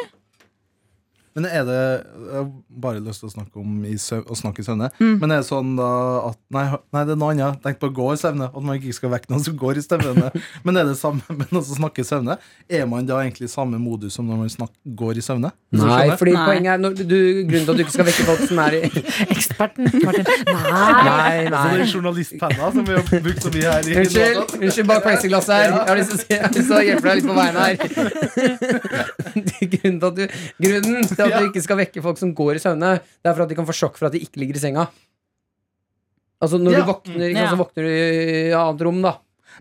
Speaker 4: Men er det Jeg har bare lyst til å snakke om i søv, å snakke i søvne.
Speaker 6: Mm.
Speaker 4: Men er det sånn da at Nei, ha- nei det er noe annet. Jeg Tenkte på å gå i søvne. At man ikke skal vekke noen som går i
Speaker 6: *laughs*
Speaker 4: søvne. men er det samme *laughs* med noen som snakker i søvne? Er man da egentlig i samme modus som når man snak, går i søvne? Hvis du
Speaker 6: Nei,
Speaker 4: skjønner?
Speaker 6: fordi poenget er når du, Grunnen til at du ikke skal vekke folk som er i
Speaker 2: Eksperten, *laughs* Martin.
Speaker 6: Nei,
Speaker 4: Så det
Speaker 6: nei.
Speaker 4: er journalistpenna som vi har brukt så mye her. i
Speaker 6: Unnskyld,
Speaker 4: Låta.
Speaker 6: unnskyld, bare plexiglasset her. Jeg har lyst til å si- jeg har lyst til å hjelpe deg litt på veien her. *laughs* Grunnen til at du, grunnen til at du ikke skal vekke folk som går i søvne, det er for at de kan få sjokk for at de ikke ligger i senga. Altså når
Speaker 4: Ja.
Speaker 6: du våkner, ikke sant,
Speaker 4: Ja.
Speaker 6: så våkner du i annet rom, da.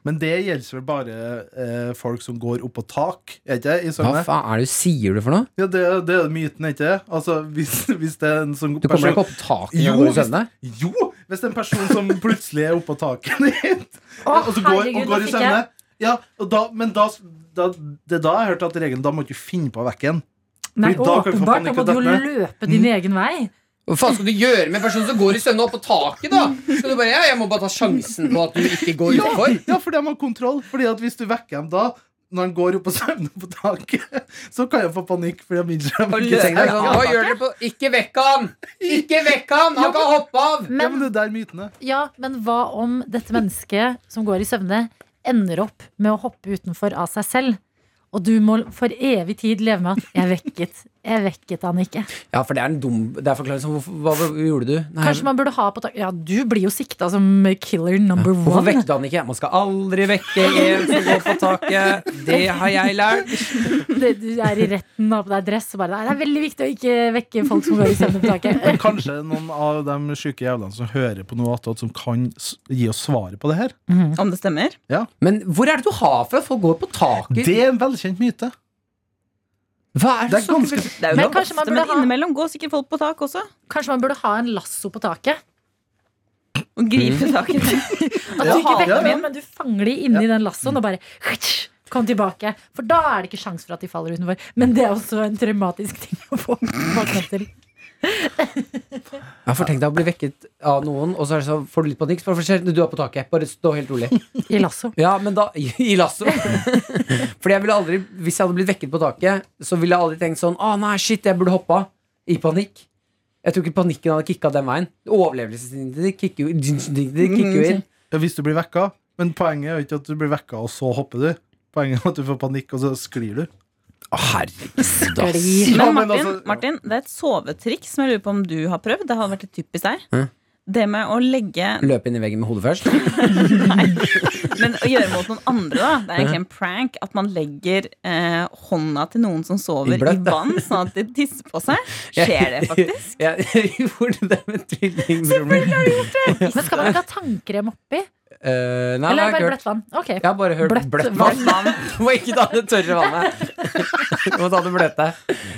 Speaker 4: Men det gjelder vel bare eh, folk som går opp på tak, er ikke det? I
Speaker 6: Hva
Speaker 4: søvne.
Speaker 6: faen er det du sier du for noe?
Speaker 4: Ja, det, det er myten, ikke det? Altså, hvis, hvis det er en sånn
Speaker 6: Du kommer deg ikke opp taket når
Speaker 4: Jo,
Speaker 6: du går i
Speaker 4: hvis-
Speaker 6: søvne?
Speaker 4: Jo! Hvis det er en person som plutselig er oppå taket *laughs* ditt,
Speaker 2: Å,
Speaker 4: *laughs* og så går,
Speaker 2: herregud,
Speaker 4: og
Speaker 2: nå
Speaker 4: går i
Speaker 2: fikk jeg-
Speaker 4: søvne ja, og da, Men da, da, det er da jeg hørte at regelen Da må du ikke finne på å vekke en.
Speaker 2: Nei,
Speaker 4: Fordi da kan du få
Speaker 2: åpenbart. Da
Speaker 4: panikk
Speaker 2: må
Speaker 4: og
Speaker 2: du jo
Speaker 4: dette. Mm.
Speaker 2: løpe din egen vei.
Speaker 6: Hva faen skal du gjøre med en person som går i søvne opp på taket, da? Skal du bare, ja, jeg må bare ta sjansen på at du ikke går
Speaker 4: Ja,
Speaker 6: utfor?
Speaker 4: ja, for de har kontroll. Fordi at hvis du vekker dem da når han går opp og søvner på taket, *laughs* så kan jeg få panikk. Fordi jeg minner dem.
Speaker 6: Ikke tenk deg sånn, Hva gjør dere på Ikke vekk han! Ikke vekk han! Han kan hoppe av!
Speaker 4: Ja, men det er der mytene
Speaker 2: Ja, men hva om dette mennesket som går i søvne, ender opp med å hoppe utenfor av seg selv? Og du må for evig tid leve med at 'jeg vekket'. Jeg vekket han ikke.
Speaker 6: Ja, for det er en dum Det er forklaring som hvorfor- Hva, hva gjorde du? Nei,
Speaker 2: Kanskje man burde ha på tak Ja, du blir jo sikta som killer number
Speaker 6: Hvorfor
Speaker 2: one.
Speaker 6: vekket han ikke? Man skal aldri vekke en som går på taket. Det har jeg lært.
Speaker 2: Det, *laughs* du er i retten og har på deg dress og bare Nei, det er veldig viktig å ikke vekke folk som går i søvne på
Speaker 4: *laughs*
Speaker 2: taket. *laughs*
Speaker 4: Men kanskje noen av de syke jævlene som hører på noe attåt, som kan s- gi oss svaret på det her?
Speaker 5: Om det stemmer?
Speaker 4: Ja.
Speaker 6: Men hvor er det du har for at folk går på taket?
Speaker 4: Det er en velkjent myte.
Speaker 6: Hva er
Speaker 4: det, er ganske...
Speaker 5: Det er jo
Speaker 2: Men
Speaker 5: ikke
Speaker 2: kanskje man
Speaker 5: ofte,
Speaker 2: burde
Speaker 5: men
Speaker 2: ha-
Speaker 5: innimellom går sikkert folk på tak også.
Speaker 2: Kanskje man burde ha en lasso på taket?
Speaker 5: Og gripe tak i det.
Speaker 2: At du
Speaker 5: Ja,
Speaker 2: ikke
Speaker 5: ja,
Speaker 2: vekker
Speaker 5: ja.
Speaker 2: dem, men du fanger de inni den lassoen og bare *laughs* Kom tilbake. For da er det ikke sjans for at de faller utenfor. Men det er også en traumatisk ting å få våkne opp til.
Speaker 3: Ja, for tenk deg å bli vekket av noen, og så er det sånn, får du litt panikk. Så bare, «Forstå, du er på taket. Bare stå helt rolig.
Speaker 2: I lasso.
Speaker 3: Ja, men da, i, i
Speaker 6: *laughs*
Speaker 3: lasso. Fordi jeg ville aldri, hvis jeg hadde blitt vekket på taket, så ville jeg aldri tenkt sånn Å nei, shit, jeg burde hoppa. I panikk. Jeg tror ikke panikken hadde kicka den veien. Overlevelsesinstinktet kicker jo- *laughs* det kicker jo inn.
Speaker 4: Ja, hvis du blir vekka. Men poenget er jo ikke at du blir vekka, og så hopper du. Poenget er at du får panikk, og så sklir du.
Speaker 3: Herregud,
Speaker 5: Men Martin, Martin, det er et sovetriks som jeg lurer på om du har prøvd. Det hadde vært litt typisk deg.
Speaker 3: Hæ?
Speaker 5: Det med å legge
Speaker 3: Løpe inn i veggen med hodet først.
Speaker 5: Men å gjøre mot noen andre, da. Det er egentlig en prank. At man legger eh, hånda til noen som sover
Speaker 3: I
Speaker 5: i,
Speaker 3: bløtt, da.
Speaker 5: vann, sånn at de tisser på seg. Skjer det faktisk?
Speaker 3: Jeg, jeg gjorde det med tvillingbroren min.
Speaker 2: Men skal man ikke ha tannkrem oppi?
Speaker 3: Eh, nei,
Speaker 2: Eller
Speaker 3: det har
Speaker 2: er det bare
Speaker 3: jeg ikke hørt.
Speaker 2: bløtt vann? Ok.
Speaker 3: Jeg har bare hørt bløtt,
Speaker 2: Bløtt
Speaker 3: vann.
Speaker 2: vann.
Speaker 3: Du må ikke ta det tørre vannet. Du må ta det bløte.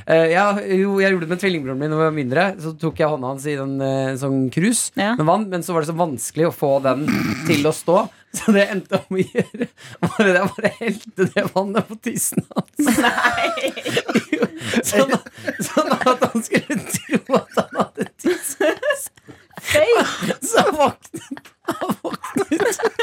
Speaker 3: Eh, ja, jo, jeg gjorde det med tvillingbroren min da jeg var mindre. Så tok jeg hånda hans i en sånn krus med vann, *laughs* men så var det så vanskelig å få den til å stå. Så det jeg endte om å gjøre, var at jeg bare helte det vannet på tissen hans. Jo, sånn, at- sånn at han skulle tro at han hadde tisset. Så våknet han våknet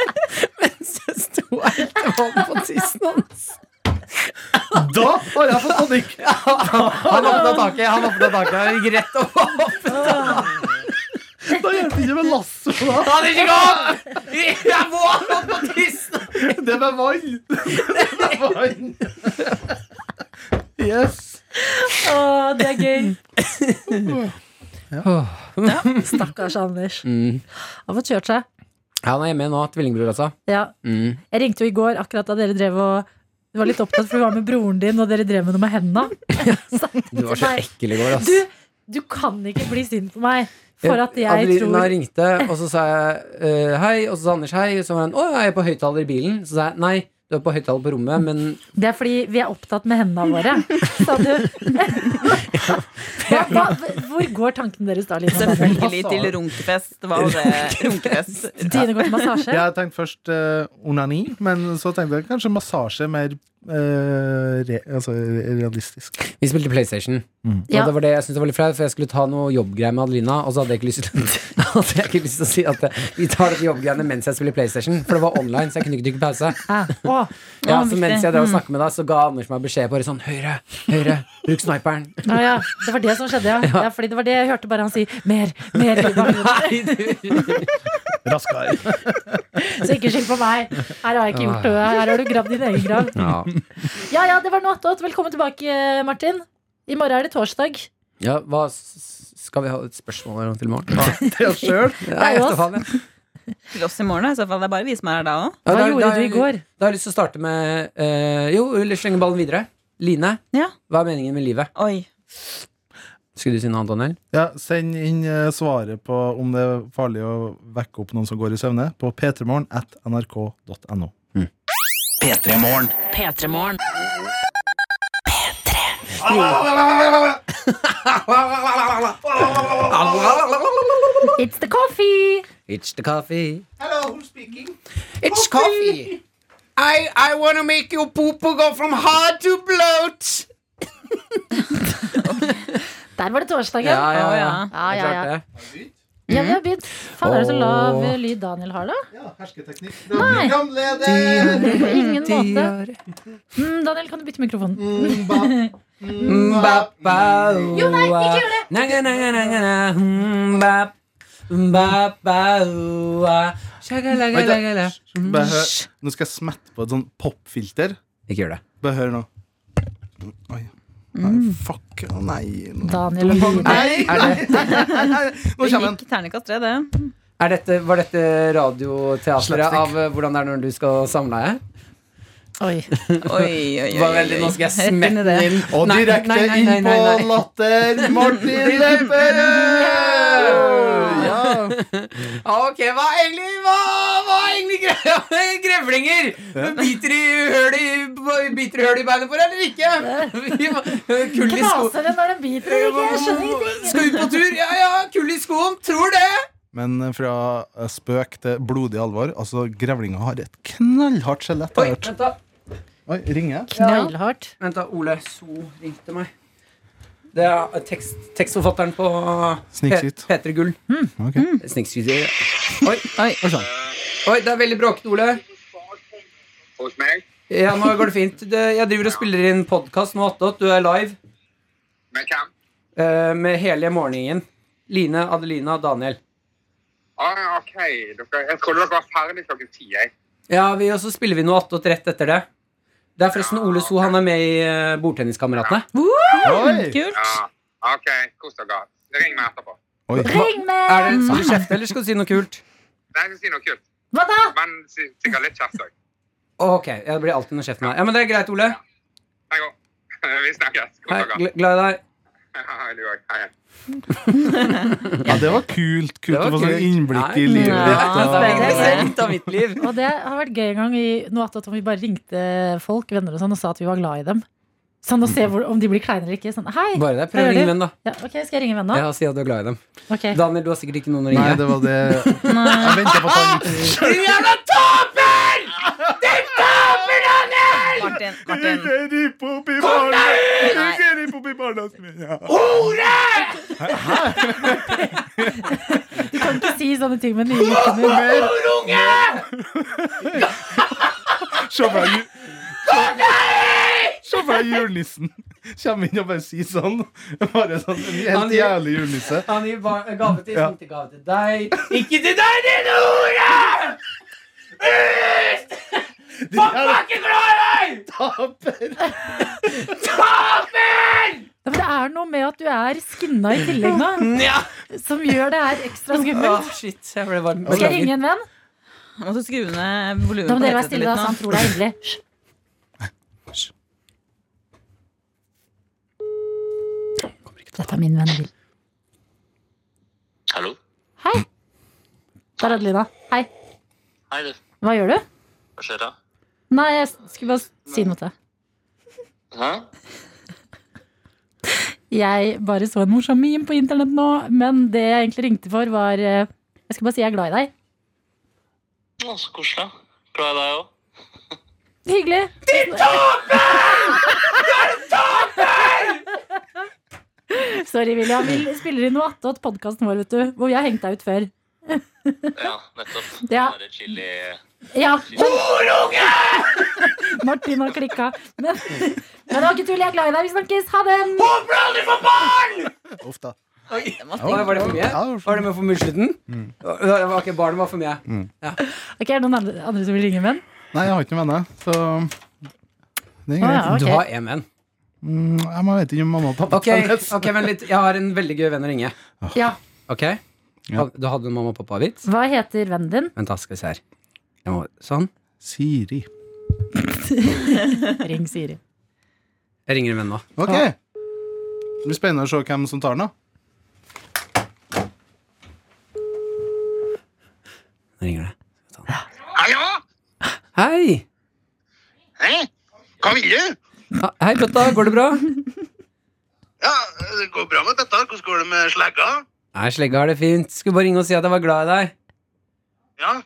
Speaker 3: mens jeg sto og helte vann på tissen hans.
Speaker 4: Da har jeg fått panikk!
Speaker 3: Han åpna taket, han åpna taket og gikk rett opp.
Speaker 4: Da hjelper det ikke med lasso. *laughs* da.
Speaker 3: Han er ikke god! Jeg må ha noe på tissen!
Speaker 4: Det med vann! *laughs* Det med vann. Yes.
Speaker 2: Å, det er gøy.
Speaker 3: Ja.
Speaker 2: Stakkars Anders.
Speaker 3: Mm.
Speaker 2: Har fått kjørt seg.
Speaker 3: Han er hjemme nå, tvillingbror altså.
Speaker 2: Ja.
Speaker 3: Mm.
Speaker 2: Jeg ringte jo i går akkurat da dere drev og Du var litt opptatt, for du var med broren din, og dere drev med noe med henda.
Speaker 3: Du var så ekkel i går, ass.
Speaker 2: Du, du kan ikke bli sint på meg for at jeg
Speaker 3: Adelina
Speaker 2: tror
Speaker 3: ringte, og så sa jeg eh, hei, og så sa Anders hei, og så var hun å, jeg er på høyttaler i bilen. Så sa jeg nei, du er på høyttaler på rommet, men
Speaker 2: Det er fordi vi er opptatt med hendene våre. Sa
Speaker 3: *laughs*
Speaker 2: du. Hva, hva, hvor går tankene deres da, Lina?
Speaker 5: Selvfølgelig til runkefest.
Speaker 3: *laughs*
Speaker 5: Hva var det? Runkefest.
Speaker 2: Dine går til massasje?
Speaker 4: Jeg tenkte først eh, onani, men så tenkte jeg kanskje massasje mer eh, re, altså, realistisk.
Speaker 3: vi spilte PlayStation. Og
Speaker 4: Ja.
Speaker 3: det var det jeg syntes det var litt flaut, for jeg skulle ta noe jobbgreier med Adelina, og så hadde jeg ikke lyst til, *laughs* hadde jeg ikke lyst til å si at eh, vi tar dette jobbgreiene mens jeg spiller PlayStation, for det var online, så jeg kunne ikke trykke pause.
Speaker 2: Å,
Speaker 3: Ja,
Speaker 2: å,
Speaker 3: så
Speaker 2: viktig.
Speaker 3: mens jeg drev og
Speaker 2: Mm.
Speaker 3: snakket med deg, så ga Anders meg beskjed bare sånn Høyre, høyre, bruk sniperen.
Speaker 2: Ja, ja, det var det som skjedde,
Speaker 3: *laughs*
Speaker 2: ja. ja. fordi det var det jeg hørte bare han si. Mer, mer. i bakgrunnen.
Speaker 4: *laughs* Raskere.
Speaker 2: Så ikke skyld på meg. Her har jeg ikke gjort noe. Her har du gravd din egen grav.
Speaker 3: Ah. Ja.
Speaker 2: Ja, ja, det var noe attåt. Velkommen tilbake, Martin. I morgen er det torsdag.
Speaker 3: ja, hva s- Skal vi ha et spørsmål eller noe til i morgen?
Speaker 4: Til oss sjøl?
Speaker 3: Ja, jeg vet faen, jeg.
Speaker 5: Til oss i morgen, da, i så fall. Det er bare vi som er her da òg.
Speaker 3: Ja, da- da- Da har jeg lyst til å starte med eh, Jo, eller slenge ballen videre. Line, hva er meningen med livet? Skulle du si noe annet, Daniel?
Speaker 4: Ja, send inn eh, svaret på om det er farlig å vekke opp noen som går i søvne, på p3morgen at nrk.no.
Speaker 12: P3morgen.
Speaker 13: P3morgen.
Speaker 2: It's the coffee!
Speaker 3: It's the coffee.
Speaker 12: Hello, who's speaking?
Speaker 3: It's coffee.
Speaker 12: I I want to make your poo poo go from hard to bloat.
Speaker 2: Der var det torsdagen.
Speaker 3: Ja, ja, ja.
Speaker 2: ja,
Speaker 3: Det
Speaker 2: ja, ja.
Speaker 3: er klart
Speaker 2: Ja, vi har begynt. Faen, er det så
Speaker 3: Åh.
Speaker 2: lav eh, lyd Daniel har, da?
Speaker 4: Ja, hersketeknikk.
Speaker 2: Nei. På ingen
Speaker 3: *laughs* Ti
Speaker 2: måte.
Speaker 3: år. Mm.
Speaker 2: Mm, Daniel, kan du bytte mikrofon?
Speaker 3: Jo, nei, ikke gjør det!
Speaker 4: Bare hør. Nå skal jeg smette på et sånn popfilter.
Speaker 3: Ikke gjør det.
Speaker 4: Bare hør nå. Oi. Nei, fuck. Å, Nei.
Speaker 2: Daniel og
Speaker 4: Line. Nei,
Speaker 3: Mm. Er det-
Speaker 4: Nå kommer den.
Speaker 5: Gikk terningkast tre, det.
Speaker 3: *laughs* Er dette, var dette radioteatret
Speaker 5: Slapstick.
Speaker 3: av eh, hvordan det er når du skal samleie?
Speaker 2: Oi.
Speaker 5: Oi, oi, oi,
Speaker 3: Hva veldig,
Speaker 5: oi,
Speaker 3: nå
Speaker 5: oi. *laughs*
Speaker 3: skal jeg
Speaker 5: Rett inn i
Speaker 3: smette den
Speaker 5: det.
Speaker 3: inn.
Speaker 4: Og
Speaker 3: Nei,
Speaker 4: direkte
Speaker 3: nei, nei, nei,
Speaker 4: inn på
Speaker 3: nei, nei.
Speaker 4: latter, Martin Lepperød! Ja.
Speaker 3: Ok, hva er egentlig, hva, *laughs* hva er egentlig greia med grevlinger? Biter de høl i, biter de høl i beinet på deg, eller ikke? *laughs* Vi må- Kull i sko...
Speaker 2: Knaser det når den biter? eller ikke? Jeg skjønner ingenting.
Speaker 3: Skal ut på tur? Ja, ja, kull i skoen, tror det!
Speaker 4: Men fra eh, spøk til blodig alvor. Altså, grevlinga har et knallhardt skjelett. har jeg hørt.
Speaker 3: Vent da.
Speaker 4: Oi, ringer jeg?
Speaker 2: Knallhardt.
Speaker 3: Vent, da. Ole So ringte meg. Det er eh, tekst, tekstforfatteren på eh,
Speaker 4: Snikskryt.
Speaker 3: P- P3 Gull.
Speaker 4: Ok.
Speaker 3: Mm. Snikskryt. Oi, oi. oi, det er veldig bråkete, Ole.
Speaker 7: Hos meg?
Speaker 3: Ja, nå går det fint. Det, jeg driver og spiller inn podkast nå, Attåt. Du er live
Speaker 7: Med hvem?
Speaker 3: eh, med hele morgengjengen. Line, Adelina og Daniel.
Speaker 7: Ah, ok. Dere, jeg trodde dere var ferdig klokken ti. jeg.
Speaker 3: Ja, vi, og så spiller vi noe attåt rett etter det. Det er forresten Ole So. Han er med i eh, Bordtenniskameratene. Oi.
Speaker 7: Ja, ok, kos dere. Ring meg etterpå.
Speaker 2: Ring meg!
Speaker 3: Er det, skal du kjefte, eller skal du si noe kult?
Speaker 7: Nei, jeg skal si noe kult.
Speaker 2: Hva da?
Speaker 7: Men si- sikkert litt kjeft òg.
Speaker 3: Ok, jeg blir alltid noe kjeft med deg. Ja, men det er greit, Ole.
Speaker 7: *laughs* Vi snakkes. Kos
Speaker 3: Hei,
Speaker 7: dere.
Speaker 3: gl- glad i deg.
Speaker 7: *laughs* Hei, du òg. Hei. hei.
Speaker 4: Ja, det var kult. Kult
Speaker 3: var
Speaker 4: å få sånn
Speaker 3: kult.
Speaker 4: innblikk i
Speaker 3: Nei.
Speaker 4: livet
Speaker 3: Ja,
Speaker 4: ditt. og-
Speaker 3: det er veldig spennende. Litt av mitt liv.
Speaker 2: Og det har vært gøy en gang i noe attåt om vi bare ringte folk, venner og sånn, og sa at vi var glad i dem. Sånn å se hvor, om de blir kleine eller ikke. Sånn, hei,
Speaker 3: Bare det.
Speaker 2: hva
Speaker 3: Prøv å
Speaker 2: gjør
Speaker 3: ringe
Speaker 2: du?
Speaker 3: venn, da.
Speaker 2: Ja, ok, skal jeg ringe venn nå?
Speaker 3: Ja, Si at du er glad i dem.
Speaker 2: Ok.
Speaker 3: Daniel, du har sikkert ikke noen å ringe.
Speaker 4: Nei, det var det Jeg venta på tanken.
Speaker 3: Du jævla taper! Din taper, Daniel!
Speaker 5: Martin,
Speaker 4: Martin.
Speaker 5: Kom deg ut!
Speaker 4: Hore!
Speaker 2: Du kan ikke si sånne ting med nye lykkene.
Speaker 4: Se for deg ju- Se for deg julenissen. Kommer inn og bare sier sånn. Bare sånn En
Speaker 3: Han
Speaker 4: helt
Speaker 3: gir-
Speaker 4: jævlig julenisse.
Speaker 3: Han gir bar- gave til
Speaker 4: Ja.
Speaker 3: tomtegave til deg. Ikke til deg, din hore! Ut! Folk var ikke glad i deg! Taper! Taper!
Speaker 2: Ja, men det er noe med at du er skinna i tillegg nå,
Speaker 3: Ja.
Speaker 2: som gjør det her ekstra skummelt.
Speaker 3: Åh, shit, jeg ble varm.
Speaker 2: Skal jeg ringe en venn?
Speaker 5: Må du skru ned volumet
Speaker 2: Da må
Speaker 5: på
Speaker 2: dere være
Speaker 5: headsetet
Speaker 2: stille, da, så han
Speaker 5: litt nå?
Speaker 2: tror det er hyggelig. Hysj. Dette er min venn Bill.
Speaker 7: Hallo?
Speaker 2: Hei. Der er Adelina. Hei.
Speaker 7: Hei, du.
Speaker 2: Hva gjør du?
Speaker 7: Hva skjer da?
Speaker 2: Nei, jeg skulle bare si noe til deg.
Speaker 7: Hæ?
Speaker 2: Jeg bare så en morsom meme på internett nå, men det jeg egentlig ringte for, var eh, Jeg skal bare si jeg er glad i deg.
Speaker 7: Å, så koselig. Glad i deg òg.
Speaker 2: Hyggelig. Sorry, William. Vi spiller inn noe attåt podkasten vår, vet du. Hvor vi har hengt deg ut før.
Speaker 7: Ja, nettopp.
Speaker 2: Ja.
Speaker 7: Den derre chili...
Speaker 2: Ja. Martin har klikka. Men, men det var ikke tull. Jeg er glad i deg. Vi snakkes. Ha det.
Speaker 3: Håper aldri får barn!
Speaker 4: Uff da.
Speaker 3: Oi, var det for mye? Var det med for mye i slutten?
Speaker 6: Mm.
Speaker 3: Det var ikke barnet var for mye.
Speaker 2: Ok, Er det noen andre, andre som vil ringe menn?
Speaker 4: Nei, jeg har ikke noen venner, så det
Speaker 2: Å,
Speaker 4: er
Speaker 2: Ah,
Speaker 3: Ah,
Speaker 2: ja,
Speaker 4: greit.
Speaker 2: ok. Du har
Speaker 3: en venn?
Speaker 4: Mm, jeg må- jeg vet ikke om mamma og pappa
Speaker 3: Ok,
Speaker 6: *laughs*
Speaker 3: ok, vent litt. Jeg har en veldig gøy venn å ringe.
Speaker 2: Ja.
Speaker 3: Ok? Du hadde en mamma og pappa-vits?
Speaker 2: Hva heter vennen din?
Speaker 3: Vent, da skal vi se her. Jeg må, sånn.
Speaker 4: Siri.
Speaker 2: Ring Siri.
Speaker 3: Jeg ringer en venn nå.
Speaker 4: Ok. Det blir spennende å se hvem som tar den, da.
Speaker 3: Nå ringer det.
Speaker 7: Hallo?
Speaker 3: Hei!
Speaker 7: Hei? Hva vil du?
Speaker 3: Ja, Hei, bøtta. Går det bra?
Speaker 7: Ja, det går bra med dette. Hvordan går det med slegga?
Speaker 3: Nei, slegga har det fint. Skulle bare ringe og si at jeg var glad i deg.
Speaker 7: Ja.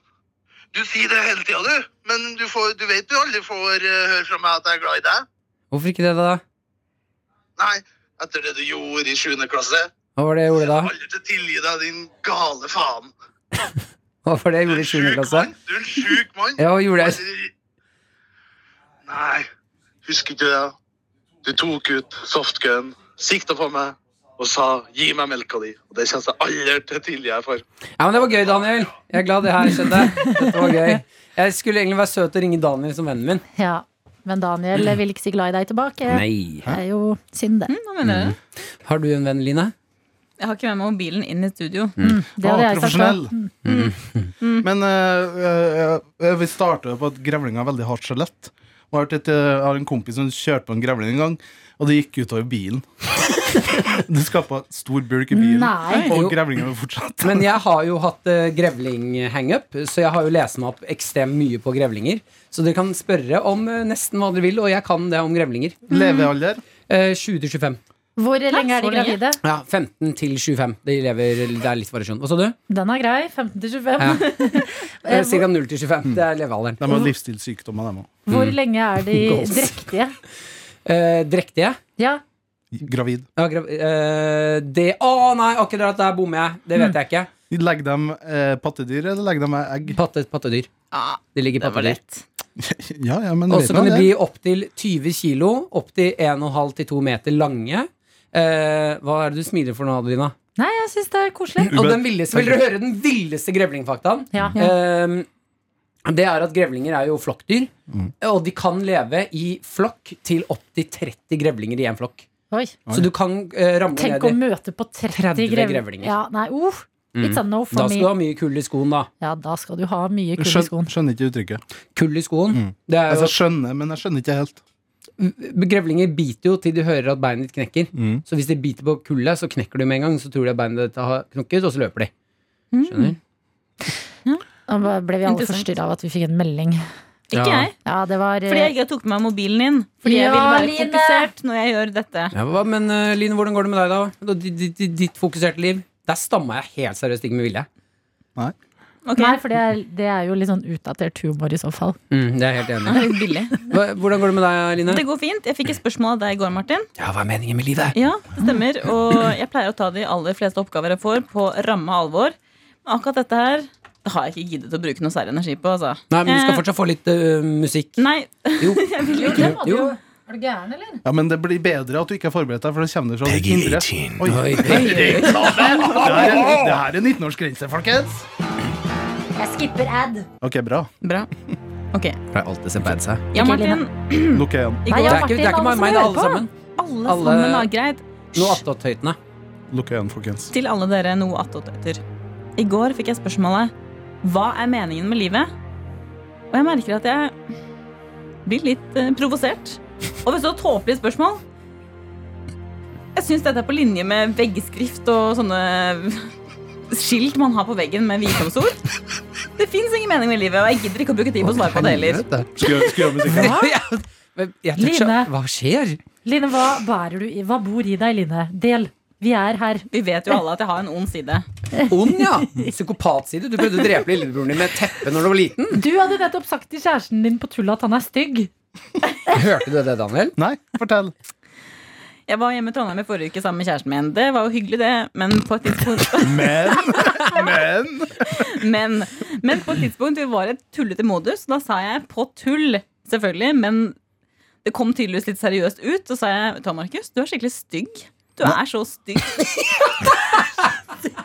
Speaker 7: Du sier det hele tida, du. Men du, får, du vet du aldri får eh, høre fra meg at jeg er glad i deg.
Speaker 3: Hvorfor ikke det, da?
Speaker 7: Nei, etter det du gjorde i 7. klasse.
Speaker 3: Hva var det jeg gjorde da?
Speaker 7: Aldri til å tilgi deg, din gale faen.
Speaker 3: Hva var det jeg gjorde i 7. klasse?
Speaker 7: Du er en sjuk mann.
Speaker 3: Ja, hva gjorde jeg?
Speaker 7: Aldri- Nei, husker ikke du det? Du tok ut softgun, sikta på meg og sa 'gi meg melka di'. Og det kjennes jeg aldri til å tilgi deg for.
Speaker 3: Ja, men Det var gøy, Daniel. Jeg er glad det her skjedde. Dette var gøy. Jeg skulle egentlig være søt og ringe Daniel som vennen min.
Speaker 2: Ja. Men Daniel vil ikke si glad i deg tilbake.
Speaker 3: Nei.
Speaker 2: Det er jo synd, det.
Speaker 5: Hva mener du?
Speaker 3: Mm. Har du en venn, Line? Mm.
Speaker 5: Jeg har ikke med meg mobilen inn i studio.
Speaker 2: Det hadde
Speaker 4: Å,
Speaker 2: jeg sagt
Speaker 4: Ah, profesjonell.
Speaker 2: også. Mm.
Speaker 4: Men eh, eh, vi starter på at grevlinga er veldig hardt skjelett. Og Jeg har hørt et, eh, jeg har en kompis som kjørte på en grevling en gang, og det gikk utover bilen. *laughs* det skapa stor bulk i bilen,
Speaker 3: Nei.
Speaker 4: og
Speaker 3: Jo.
Speaker 4: grevlinga var fortsatt.
Speaker 3: Men jeg har jo hatt eh, grevling-hangup, så jeg har jo lest meg opp ekstremt mye på grevlinger. Så dere kan spørre om eh, nesten hva dere vil, og jeg kan det om grevlinger.
Speaker 4: Levealder?
Speaker 3: Eh, 20 til
Speaker 2: Mm.
Speaker 3: 25.
Speaker 2: Hvor lenge er de
Speaker 5: så lenge?
Speaker 2: gravide?
Speaker 3: Ja,
Speaker 6: Mm,
Speaker 3: 15 til 25. De lever, det er litt variasjon. Hva sa du?
Speaker 2: Den er grei. 15 til 25.
Speaker 3: Ja. Eh, Cirka 0 til 25. Det er levealderen.
Speaker 4: De har livsstilssykdommer, de òg.
Speaker 2: *laughs* Hvor
Speaker 6: Mm.
Speaker 2: lenge er de
Speaker 6: Goals.
Speaker 2: drektige?
Speaker 6: Eh, drektige?
Speaker 2: Ja.
Speaker 4: Gravid.
Speaker 6: Ja, grav- eh, det Å nei, akkurat der bommer jeg. Det vet jeg ikke.
Speaker 4: Legger de eh, pattedyr, eller legger de egg?
Speaker 6: pattedyr. Det ligger pattedyr.
Speaker 4: ja, ja, men
Speaker 6: Og
Speaker 4: vet
Speaker 6: så
Speaker 4: man
Speaker 6: kan de
Speaker 4: det?
Speaker 6: bli opptil 20 kilo, opptil 1,5-2 meter lange. Eh, hva er det du smiler for nå, Adelina?
Speaker 2: Nei, jeg syns det er koselig.
Speaker 6: Og den villeste, vil dere høre den villeste grevlingfaktaen?
Speaker 2: Ja.
Speaker 6: Ehm, det er at grevlinger er jo flokkdyr,
Speaker 3: Mm.
Speaker 6: og de kan leve i flokk til opptil 30 grevlinger i en flokk.
Speaker 2: Oi.
Speaker 6: Så du kan eh, ramle
Speaker 2: Tenk å
Speaker 6: ned i
Speaker 2: møte på 30
Speaker 6: 30
Speaker 2: grev
Speaker 6: grevlinger.
Speaker 2: Ja, nei, uff. It's a
Speaker 6: Mm.
Speaker 2: no
Speaker 6: Da
Speaker 2: for
Speaker 6: skal du ha
Speaker 2: me.
Speaker 6: mye kull i skoen, da.
Speaker 2: Ja, da skal du ha mye kull i
Speaker 4: Skjøn,
Speaker 2: skoen.
Speaker 4: skjønner ikke uttrykket.
Speaker 6: Kull i skoen? Det er
Speaker 4: Altså,
Speaker 6: jo,
Speaker 4: jeg skjønner, men jeg skjønner ikke helt.
Speaker 6: grevlinger biter jo til de hører at beinet ditt knekker. Så hvis de biter på kullet, så knekker du med en gang. Så tror de at beinet ditt har knokket, og så løper de. Skjønner?
Speaker 2: Da ble vi alle
Speaker 5: Interessant.
Speaker 2: forstyrra av at vi fikk en melding.
Speaker 5: Ikke
Speaker 6: Ja.
Speaker 5: jeg.
Speaker 2: Ja, det var
Speaker 5: Fordi jeg ikke tok med meg mobilen inn. Fordi jeg
Speaker 2: Ja,
Speaker 5: vil være
Speaker 2: Line!
Speaker 5: fokusert når jeg gjør dette.
Speaker 6: Ja, hva- men eh, Line, hvordan går det med deg, da? D- d- d- Ditt fokuserte liv? Der stamma jeg helt seriøst ikke med vilje.
Speaker 2: Nei, for det er, det er jo litt sånn utdatert humor i så fall.
Speaker 6: Mm, det er jeg helt enig
Speaker 5: Det er litt billig.
Speaker 6: i. Hva- Hvordan går det med deg, Line?
Speaker 5: Det går fint. Jeg fikk et spørsmål av deg i går, Martin.
Speaker 6: Ja, hva er meningen med livet?
Speaker 5: Ja, det stemmer. Og jeg pleier å ta de aller fleste oppgaver jeg får, på ramme alvor. Men akkurat dette her det har jeg ikke giddet å bruke noe særlig energi på. Altså.
Speaker 6: Nei, men du skal
Speaker 5: Eh,
Speaker 6: fortsatt få litt eh, musikk.
Speaker 5: Nei. *laughs*
Speaker 6: Jo.
Speaker 5: jeg vil jo ikke.
Speaker 6: Jo.
Speaker 2: Er du gæren, eller?
Speaker 4: Ja, Men det blir bedre at du ikke har forberedt deg, for det kommer fra ditt indre. Oi.
Speaker 6: Oi.
Speaker 4: Det her er, det her er 19-årsgrense, folkens!
Speaker 2: Jeg skipper ad.
Speaker 4: Ok, bra.
Speaker 5: Bra. Ok.
Speaker 6: Pleier alltid å se bad seg.
Speaker 5: Ja, Martin.
Speaker 4: Lukk øynene.
Speaker 5: I
Speaker 2: Nei,
Speaker 5: går-
Speaker 2: ja,
Speaker 6: Det er ikke- det er ikke
Speaker 2: Martin,
Speaker 6: meg, det er alle
Speaker 2: som hører
Speaker 6: sammen.
Speaker 2: på.
Speaker 5: Alle
Speaker 6: Alle-
Speaker 5: sammen har greit.
Speaker 6: Noe attåthøytende.
Speaker 4: Lukk øynene, folkens.
Speaker 5: Til alle dere noe attåtøyter. I går fikk jeg spørsmålet Hva er meningen med livet? Og jeg merker at jeg blir litt eh, provosert over så tåpelige spørsmål. Jeg syns dette er på linje med veggskrift og sånne skilt man har på veggen med visdomsord. Det fins ingen mening med livet, og jeg gidder ikke å bruke tid på å svare på det heller.
Speaker 4: Skru skru av musikken.
Speaker 6: Hva? Men jeg tror ikke-
Speaker 2: Line.
Speaker 6: Hva skjer?
Speaker 2: Line, hva bærer du i? Hva bor i deg, Line? Del. Vi er her.
Speaker 5: Vi vet jo alle at jeg har en ond side.
Speaker 6: Ond, ja. Psykopatside. Du prøvde å drepe lillebroren din med et teppe når du var liten.
Speaker 2: Du hadde nettopp sagt til kjæresten din på tull at han er stygg.
Speaker 6: Hørte du det, Daniel?
Speaker 4: Nei, fortell.
Speaker 5: Jeg var hjemme i Trondheim i forrige uke sammen med kjæresten min. Det var jo hyggelig, det, men på et tidspunkt
Speaker 4: Men, *laughs* men *laughs*
Speaker 5: Men, men på et tidspunkt vi var i et tullete modus. Da sa jeg på tull, selvfølgelig, men det kom tydeligvis litt seriøst ut. Så sa jeg ta Markus, du er skikkelig stygg. Du er så
Speaker 6: *laughs*
Speaker 5: stygg.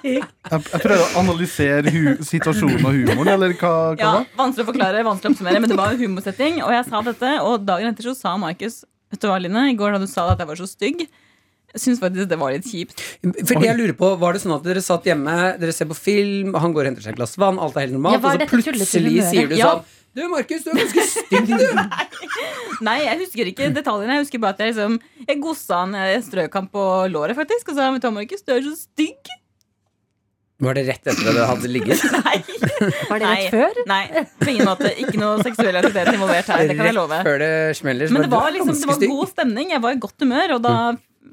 Speaker 4: Jeg, jeg prøver å analysere hu situasjonen og humoren, eller hva, hva
Speaker 5: Ja,
Speaker 4: da?
Speaker 5: vanskelig å forklare, vanskelig å oppsummere, men det var en humorsetting. Og jeg sa dette, og dagen etter så sa Markus Vet du hva, Line, i går da du sa at jeg var så stygg, jeg syns faktisk det var litt kjipt.
Speaker 6: For jeg lurer på, Var det sånn at dere satt hjemme, dere ser på film, han går og henter seg et glass vann, alt er helt normalt,
Speaker 2: Ja, var
Speaker 6: og så
Speaker 2: dette tullete
Speaker 6: Altså, plutselig
Speaker 2: humøret?
Speaker 6: sier du
Speaker 5: Ja.
Speaker 6: sånn Du, Markus, du er ganske stygg, du.
Speaker 5: *laughs* Nei, jeg husker ikke detaljene. Jeg husker bare at jeg liksom Jeg gossa han eh, strøk han på låret, faktisk, og sa vet du hva, Markus, du er så stygg.
Speaker 6: Var det rett etter at dere hadde
Speaker 5: *laughs*
Speaker 6: ligget?
Speaker 2: Var det rett
Speaker 5: Nei.
Speaker 2: før?
Speaker 5: Nei, på ingen måte. Ikke noe seksuell aktivitet involvert her. Det kan jeg love.
Speaker 6: Rett før det smeller. så
Speaker 5: Men det
Speaker 6: du
Speaker 5: var,
Speaker 6: er
Speaker 5: liksom, det
Speaker 6: ganske
Speaker 5: var
Speaker 6: stygg. Mm.
Speaker 5: god stemning. Jeg var i godt humør, og da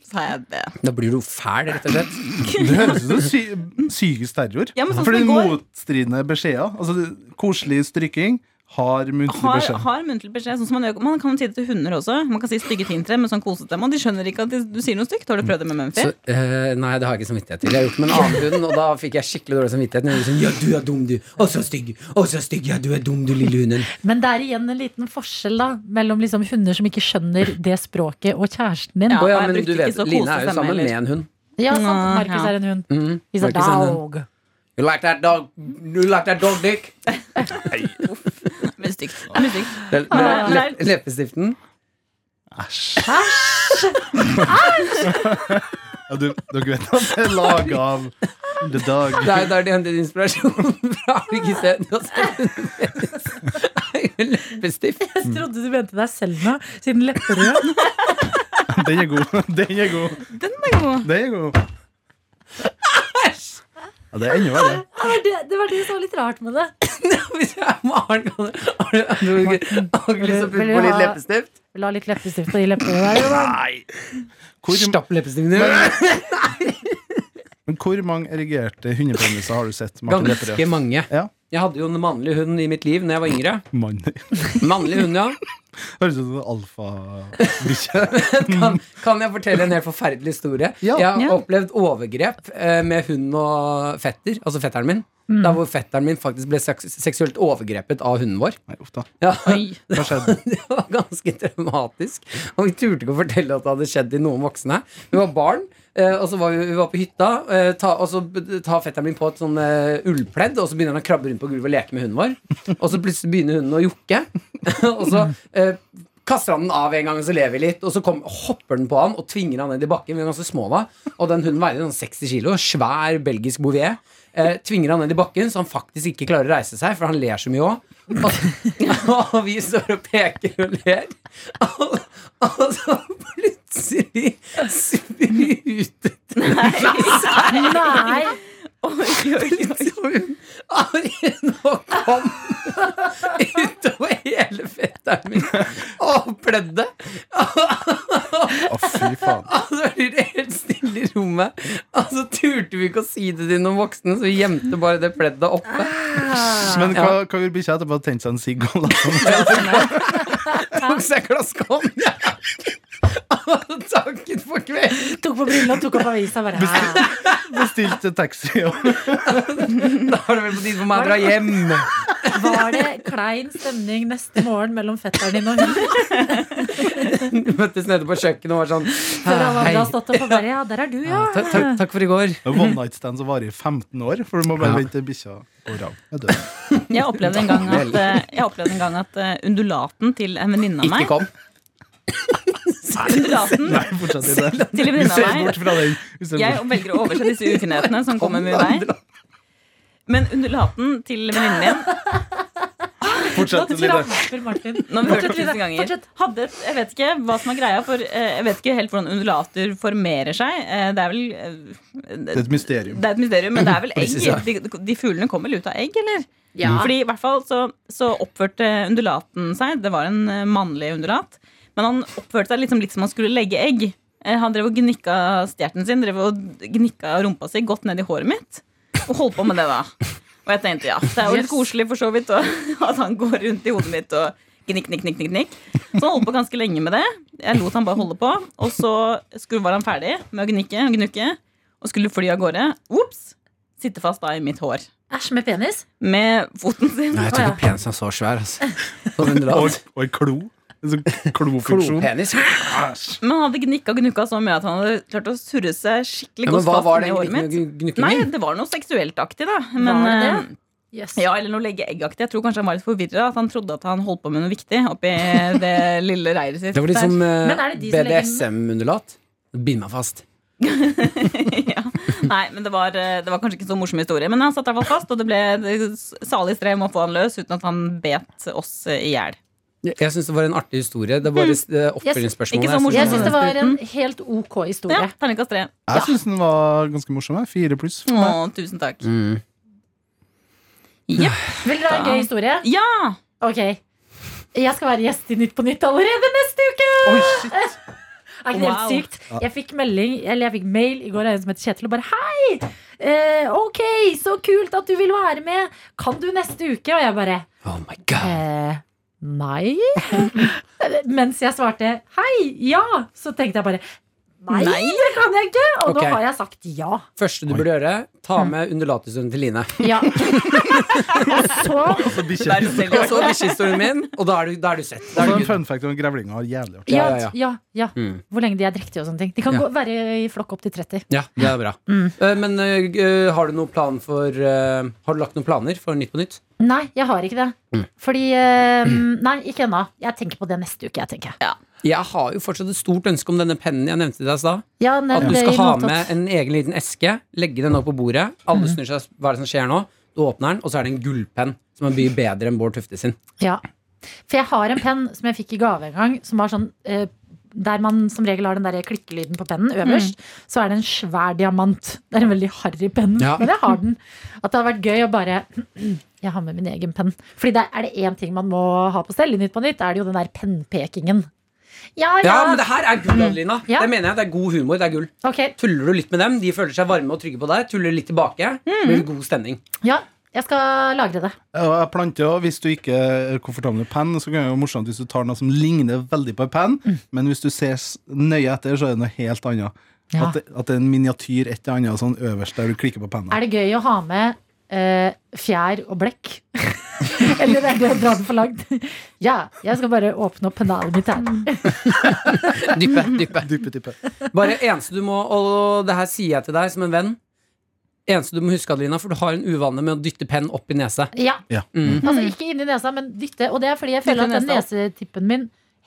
Speaker 5: sa jeg det.
Speaker 6: Da blir du fæl, rett og slett.
Speaker 4: Det høres ut som psy psykisk terror.
Speaker 5: Ja, men sånn som
Speaker 4: for det
Speaker 5: i
Speaker 4: er
Speaker 5: går.
Speaker 4: motstridende beskjeder. Altså, det- koselig stryking, hard muntlig
Speaker 5: Har,
Speaker 4: beskjed.
Speaker 5: har muntlig beskjed. Sånn som man, gjør, man kan si det til hunder også. Man kan si stygge ting til dem, men sånn kosete dem. Og de skjønner ikke at de, du sier noe stygt. Har du prøvd det med Mumphy?
Speaker 6: Så, eh, nei, det har jeg ikke samvittighet til. Jeg har gjort det med en annen hund, og da fikk jeg skikkelig dårlig samvittighet. Når jeg liksom, ja, du er dum, du. Å, så stygg. Å, så stygg. Ja, du er dum, du lille hunden.
Speaker 2: Men det er igjen en liten forskjell da mellom liksom hunder som ikke skjønner det språket, og kjæresten din.
Speaker 6: Å ja,
Speaker 5: og jeg
Speaker 6: men
Speaker 5: brukte
Speaker 6: du
Speaker 5: ikke
Speaker 6: vet,
Speaker 5: så
Speaker 6: Line er
Speaker 5: kosestemme
Speaker 6: jo sammen
Speaker 5: heller.
Speaker 6: med en hund.
Speaker 2: Ja, sant.
Speaker 5: Nå,
Speaker 2: Markus
Speaker 5: ja.
Speaker 2: er en hund.
Speaker 6: Mm,
Speaker 2: He's a
Speaker 6: Markus er en hund.
Speaker 2: dog. *laughs*
Speaker 6: You like that dog? You like that dog *laughs* dick?
Speaker 5: Men stygt. Men stygt.
Speaker 6: Det-
Speaker 5: Ah.
Speaker 6: le- le- Leppestiften?
Speaker 4: Ja, du, dere vet at det er laget av The Dog.
Speaker 6: Det er jo der de henter inspirasjon fra. Har du ikke sett du har sett en Leppestift.
Speaker 2: Jeg trodde du mente deg selv nå,
Speaker 6: *laughs*
Speaker 2: siden lepperød.
Speaker 4: *laughs* Den er god. Den er god.
Speaker 5: Den er god.
Speaker 4: Den er god. Ja, det er enda verre.
Speaker 2: Det var det, det var det som var litt rart med det.
Speaker 6: Hvis jeg er Maren, kan du har du- har du ikke har du ikke lyst til å putte
Speaker 2: Vil du
Speaker 6: på litt
Speaker 2: ha-
Speaker 6: leppestift?
Speaker 2: La litt leppestift i lepperød der.
Speaker 4: Nei. Hvor,
Speaker 6: Stapp leppestiften din.
Speaker 4: men hvor mange erigerte hundepeniser har du sett? Martin
Speaker 6: Ganske
Speaker 4: Lepperød?
Speaker 6: mange.
Speaker 4: Ja.
Speaker 6: Jeg hadde jo en mannlig hund i mitt liv da jeg var yngre.
Speaker 4: Mann.
Speaker 6: Mannlig hund, ja.
Speaker 4: Høres ut som en alfabikkje.
Speaker 6: kan, kan jeg fortelle en helt forferdelig historie? Jeg har opplevd overgrep eh, med hund og fetter, altså fetteren min.
Speaker 2: Mm.
Speaker 6: Da hvor fetteren min faktisk ble seks seksuelt overgrepet av hunden vår. Ja. Det, var, det var ganske traumatisk. Og vi turte ikke å fortelle at det hadde skjedd til noen voksne. Vi var barn, eh, og så var vi, vi var på hytta. eh, Ta, og så b- tar fetteren min på et sånn eh, ullpledd, og så begynner han å krabbe rundt på gulvet og leke med hunden vår. Og så plutselig begynner hunden å jokke.
Speaker 3: *laughs*
Speaker 6: og så eh, kaster han den av en gang, og så ler vi litt. Og så kom, hopper den på han og tvinger han ned i bakken. Vi var ganske små da. Og den hunden veide sånn 60 kilo. Svær belgisk bouvier. Eh, tvinger han ned i bakken, så han faktisk ikke klarer å reise seg, for han ler så mye òg. Og, *laughs* og vi står og peker og ler. Og, og så plutselig sprutet det seg.
Speaker 2: *laughs* Nei.
Speaker 6: Liksom, Arjen og kom utover hele fetteren min og pledde.
Speaker 4: Å, fy
Speaker 6: *laughs*
Speaker 4: faen.
Speaker 6: Og så blir det Altså, helt stille i rommet. Og så turte vi ikke å si det til noen voksne, så vi gjemte bare det pleddet oppe.
Speaker 4: Men hva,
Speaker 6: Ja.
Speaker 4: hva gjorde bikkja etterpå? Tente seg en sigg og la seg
Speaker 6: Tok seg et glass konjakk. Og takket for kvelden.
Speaker 2: Tok på brillene og tok opp avisa. Bare, «Hæ?»
Speaker 4: Bestilte taxi. og-
Speaker 6: Da er det vel på tide for meg å dra hjem.
Speaker 2: var det klein stemning neste morgen mellom fetteren din og hunden?
Speaker 6: Møttes nede på kjøkkenet og var sånn
Speaker 2: Før alle
Speaker 6: Hei.
Speaker 2: andre har stått opp og bare Ja, der er du, ja.
Speaker 6: Ta- ta- Takk for i går.
Speaker 4: One night stand som varer i 15 år, for du må bare
Speaker 6: Ja.
Speaker 4: vente til bikkja går av. Jeg dør.
Speaker 5: Jeg opplevde en gang at, eh, jeg opplevde en gang at eh, undulaten til en venninne av meg
Speaker 4: Ikke kom.
Speaker 5: Undulaten
Speaker 4: Nei, fortsett i det.
Speaker 5: til en
Speaker 4: Vi
Speaker 5: venninne
Speaker 4: ser
Speaker 5: av meg
Speaker 4: bort fra den. Vi ser
Speaker 5: Jeg
Speaker 4: bort.
Speaker 5: velger å overse disse ukenhetene som kommer min vei. Men undulaten til venninnen min
Speaker 4: Fortsett, Line.
Speaker 2: Martin.
Speaker 5: Nå har vi hørt
Speaker 2: Fortsett,
Speaker 5: det tusen
Speaker 2: Line.
Speaker 5: ganger. Hadde, et- jeg vet ikke hva som er greia, for eh, jeg vet ikke helt hvordan undulater formerer seg. Eh, Det er vel eh,
Speaker 4: Det er et mysterium.
Speaker 5: Det er et mysterium, men det er vel egg?
Speaker 4: Precis, ja.
Speaker 5: De, de fuglene kommer vel ut av egg, eller?
Speaker 4: Ja.
Speaker 5: Fordi i hvert fall så, så oppførte undulaten seg Det var en eh, mannlig undulat. Men han oppførte seg liksom litt som han skulle legge egg. Eh, Han drev og gnikka stjerten sin, drev og gnikka rumpa si godt ned i håret mitt. Og holdt på med det, da. Og jeg tenkte ja, det er jo litt
Speaker 8: Yes.
Speaker 5: koselig for så vidt å, at han går rundt i hodet mitt og gnikk, gnikk, gnikk. gnikk, gnikk. Så han holdt på ganske lenge med det. Jeg lot han bare holde på. Og så skulle, var han ferdig med å gnikke og gnukke og skulle fly av gårde. Ops! Sitte fast da i mitt hår.
Speaker 2: Æsj, med penis?
Speaker 5: Med foten sin.
Speaker 6: Nei, jeg tror ikke penisen er så svær, altså. Sånn en
Speaker 4: Og,
Speaker 6: lat.
Speaker 4: og en klo. En sånn klofunksjon.
Speaker 6: Klopenis.
Speaker 4: Æsj.
Speaker 5: Men han hadde gnikka og gnukka så mye at han hadde klart å surre seg skikkelig
Speaker 6: Ja, men
Speaker 5: godt
Speaker 6: hva
Speaker 5: fast inn
Speaker 6: var
Speaker 5: i
Speaker 6: den
Speaker 5: håret mitt.
Speaker 6: gnik- gnukkingen?
Speaker 5: Nei, det var noe seksuelt aktig, da. Men,
Speaker 2: Var det
Speaker 5: eh,
Speaker 2: det? Yes.
Speaker 5: Ja, eller noe legge egg-aktig. Jeg tror kanskje han var litt forvirra. At han trodde at han holdt på med noe viktig
Speaker 6: *laughs*
Speaker 5: oppi det lille reiret sitt.
Speaker 6: Det var litt som eh,
Speaker 5: Men er det de som legger-
Speaker 6: BDSM-undulat. Bind meg fast.
Speaker 5: Nei, men det var, eh, det var kanskje ikke så morsom historie. Men han satt i hvert fall fast, og det ble det- salig strev med å få han løs uten at han bet oss eh, i hjel.
Speaker 6: Jeg- Jeg syns det var en artig historie. Det er
Speaker 5: Mm.
Speaker 6: bare eh, oppfølgingsspørsmålet.
Speaker 2: Yes.
Speaker 6: Jeg synes-
Speaker 2: Jeg syns det var en helt ok historie.
Speaker 5: Ja, Terningkast tre.
Speaker 4: Jeg syns den var ganske morsom. jeg. Fire pluss. for meg.
Speaker 5: Å, tusen takk.
Speaker 6: Mm.
Speaker 2: Vil dere ha en
Speaker 5: Da-
Speaker 2: gøy historie?
Speaker 6: *laughs*
Speaker 5: Ja!
Speaker 2: Ok. Jeg skal være gjest i Nytt på Nytt allerede neste uke! *laughs* er ikke det helt
Speaker 5: Wow.
Speaker 2: sykt?
Speaker 5: Ja.
Speaker 2: Jeg fikk melding, eller jeg fikk mail i går av en som heter Kjetil, og bare hei! Eh, ok, så kult at du vil være med! Kan du neste uke? Og jeg bare eh, Nei? *laughs* Mens jeg svarte hei, ja, så tenkte jeg bare Nei,
Speaker 6: Nei.
Speaker 2: det kan jeg ikke! Og
Speaker 6: Ok.
Speaker 2: nå har jeg sagt ja.
Speaker 6: Første du burde gjøre,
Speaker 5: Mm.
Speaker 6: ta med undulatushunden til Line.
Speaker 2: ja. *laughs* og så
Speaker 4: Så bikkje-
Speaker 6: Og så bikkjehistorien min, og da er du, da er du sett. Da
Speaker 4: Og så
Speaker 6: er du
Speaker 4: en
Speaker 6: good.
Speaker 4: fun fact om grevlinger. Jævlig artig.
Speaker 2: Ja, ja, ja.
Speaker 6: Mm.
Speaker 2: Hvor lenge de er drektige og sånne ting. De kan
Speaker 6: Ja.
Speaker 2: gå, være i flokk opp til 30.
Speaker 6: Ja, det er bra.
Speaker 5: Mm.
Speaker 6: Eh, Men eh, g- eh, har du noen plan for eh, Har du lagt noen planer for Nytt på nytt?
Speaker 2: Nei, jeg har ikke det.
Speaker 6: Mm.
Speaker 2: Fordi eh, Nei, ikke ennå. Jeg tenker på det neste uke, jeg tenker.
Speaker 5: Ja.
Speaker 6: Jeg har jo fortsatt et stort ønske om denne pennen jeg nevnte til deg i stad.
Speaker 2: nei,
Speaker 6: At du
Speaker 2: det er eh,
Speaker 6: skal
Speaker 2: i
Speaker 6: ha
Speaker 2: notat.
Speaker 6: med en egen liten eske, legge den opp på bordet. Alle snur seg, hva er det som skjer nå? Du åpner den, og så er det en gullpenn som er mye bedre enn Bård Tufte sin.
Speaker 2: Ja. For jeg har en penn som jeg fikk i gave en gang, som var sånn eh, der man som regel har den der klikkelyden på pennen øverst,
Speaker 6: Mm.
Speaker 2: så er det en svær diamant. Det er en veldig harry penn,
Speaker 8: Ja.
Speaker 2: men jeg har den. At det hadde vært gøy å bare *clears throat* Jeg har med min egen penn. Fordi der er det én ting man må ha på stell i Nytt på Nytt, er det jo den der pennpekingen. Ja, ja.
Speaker 6: Ja, Mm. men det her er gull, Adelina. Det mener jeg. Det er god humor. Det er gull.
Speaker 2: Ok.
Speaker 6: Mm. Tuller du litt med dem, de føler seg varme og trygge på deg. Tuller du litt tilbake, blir det god stemning.
Speaker 2: Ja, Jeg skal lagre det.
Speaker 4: Ja, og Jeg planter også, Hvis du ikke er komfortabel med penn, så kan det være morsomt hvis du tar noe som ligner veldig på en penn,
Speaker 2: Mm.
Speaker 4: men hvis du ser s- nøye etter, så er det noe helt annet.
Speaker 2: Ja.
Speaker 4: At, det, at det er en miniatyr et eller annet sånn øverst der du klikker på pennen.
Speaker 2: Er det gøy å ha med eh, fjær og blekk? *laughs* Eller er det å dra det for langt? *laughs* ja, jeg skal bare åpne opp pennalet mitt her.
Speaker 6: Dyppe, dyppe. *laughs* Bare eneste du må, og det her sier jeg til deg som en venn Eneste du må huske, Adelina, for du har en uvane med å dytte penn opp i nese.
Speaker 2: Ja.
Speaker 6: Mm.
Speaker 2: Altså ikke inni nesa, men dytte. Og det er fordi jeg føler
Speaker 6: Dytte
Speaker 2: at den
Speaker 6: nesa
Speaker 2: nesetippen min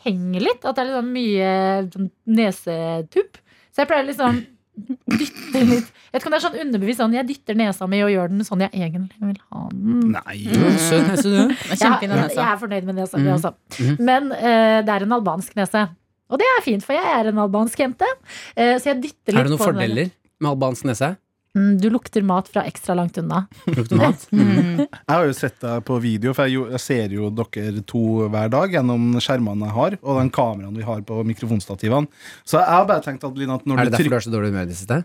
Speaker 2: henger litt. At det er liksom mye sånn nesetupp. Så jeg pleier
Speaker 6: *laughs*
Speaker 2: liksom dytte litt. Jeg vet ikke om det er sånn underbevisst sånn jeg dytter nesa mi og gjør den sånn jeg egentlig vil ha den.
Speaker 4: Nei.
Speaker 6: Søt nese, du.
Speaker 2: Jeg, jeg,
Speaker 5: Kjempefin nese.
Speaker 2: jeg er fornøyd med nesa mi
Speaker 5: Mm.
Speaker 2: også.
Speaker 5: Mhm.
Speaker 2: Men eh, det er en albansk nese. Og det er fint, for jeg er en albansk jente. Eh, så jeg dytter litt
Speaker 6: Er det noen
Speaker 2: på den der.
Speaker 6: fordeler med albansk nese?
Speaker 2: Mm, du lukter mat fra ekstra langt unna.
Speaker 6: Lukter mat?
Speaker 2: *laughs*
Speaker 4: Jeg har jo sett deg på video, for jeg, jo- jeg ser jo dere to hver dag gjennom skjermene jeg har, og den kameraen vi har på mikrofonstativene. Så jeg har bare tenkt at, Lina, at når
Speaker 6: Er
Speaker 4: du
Speaker 6: det derfor
Speaker 4: trykker
Speaker 6: du har så dårlig humør i det siste?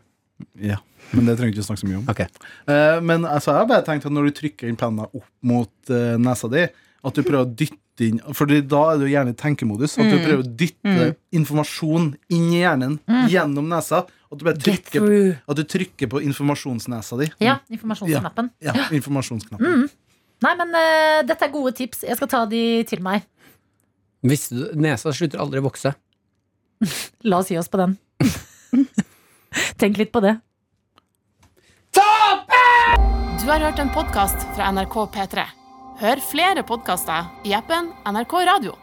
Speaker 4: Ja, men det trenger vi ikke snakke så mye om. Eh, men altså, jeg har bare tenkt at når du trykker inn penna opp mot eh, nesa di, at du prøver å dytte inn For da er du gjerne i tenkemodus. At du
Speaker 6: Mm.
Speaker 4: prøver å dytte
Speaker 6: Mm.
Speaker 4: informasjon inn i hjernen
Speaker 2: Mm.
Speaker 4: gjennom nesa. At du, bare trykker,
Speaker 6: Mm.
Speaker 2: through.
Speaker 4: at du trykker på informasjonsnesa di.
Speaker 2: Ja, informasjonsknappen.
Speaker 4: Ja, ja, informasjonsknappen.
Speaker 2: Mm. Nei, men eh, dette er gode tips. Jeg skal ta de til meg.
Speaker 6: Visste du, nesa slutter aldri å vokse.
Speaker 2: *laughs* La oss gi oss på den. *laughs* Tenk litt på det.
Speaker 1: Du har hørt en podkast fra NRK P3. Hør flere podkaster i appen NRK Radio.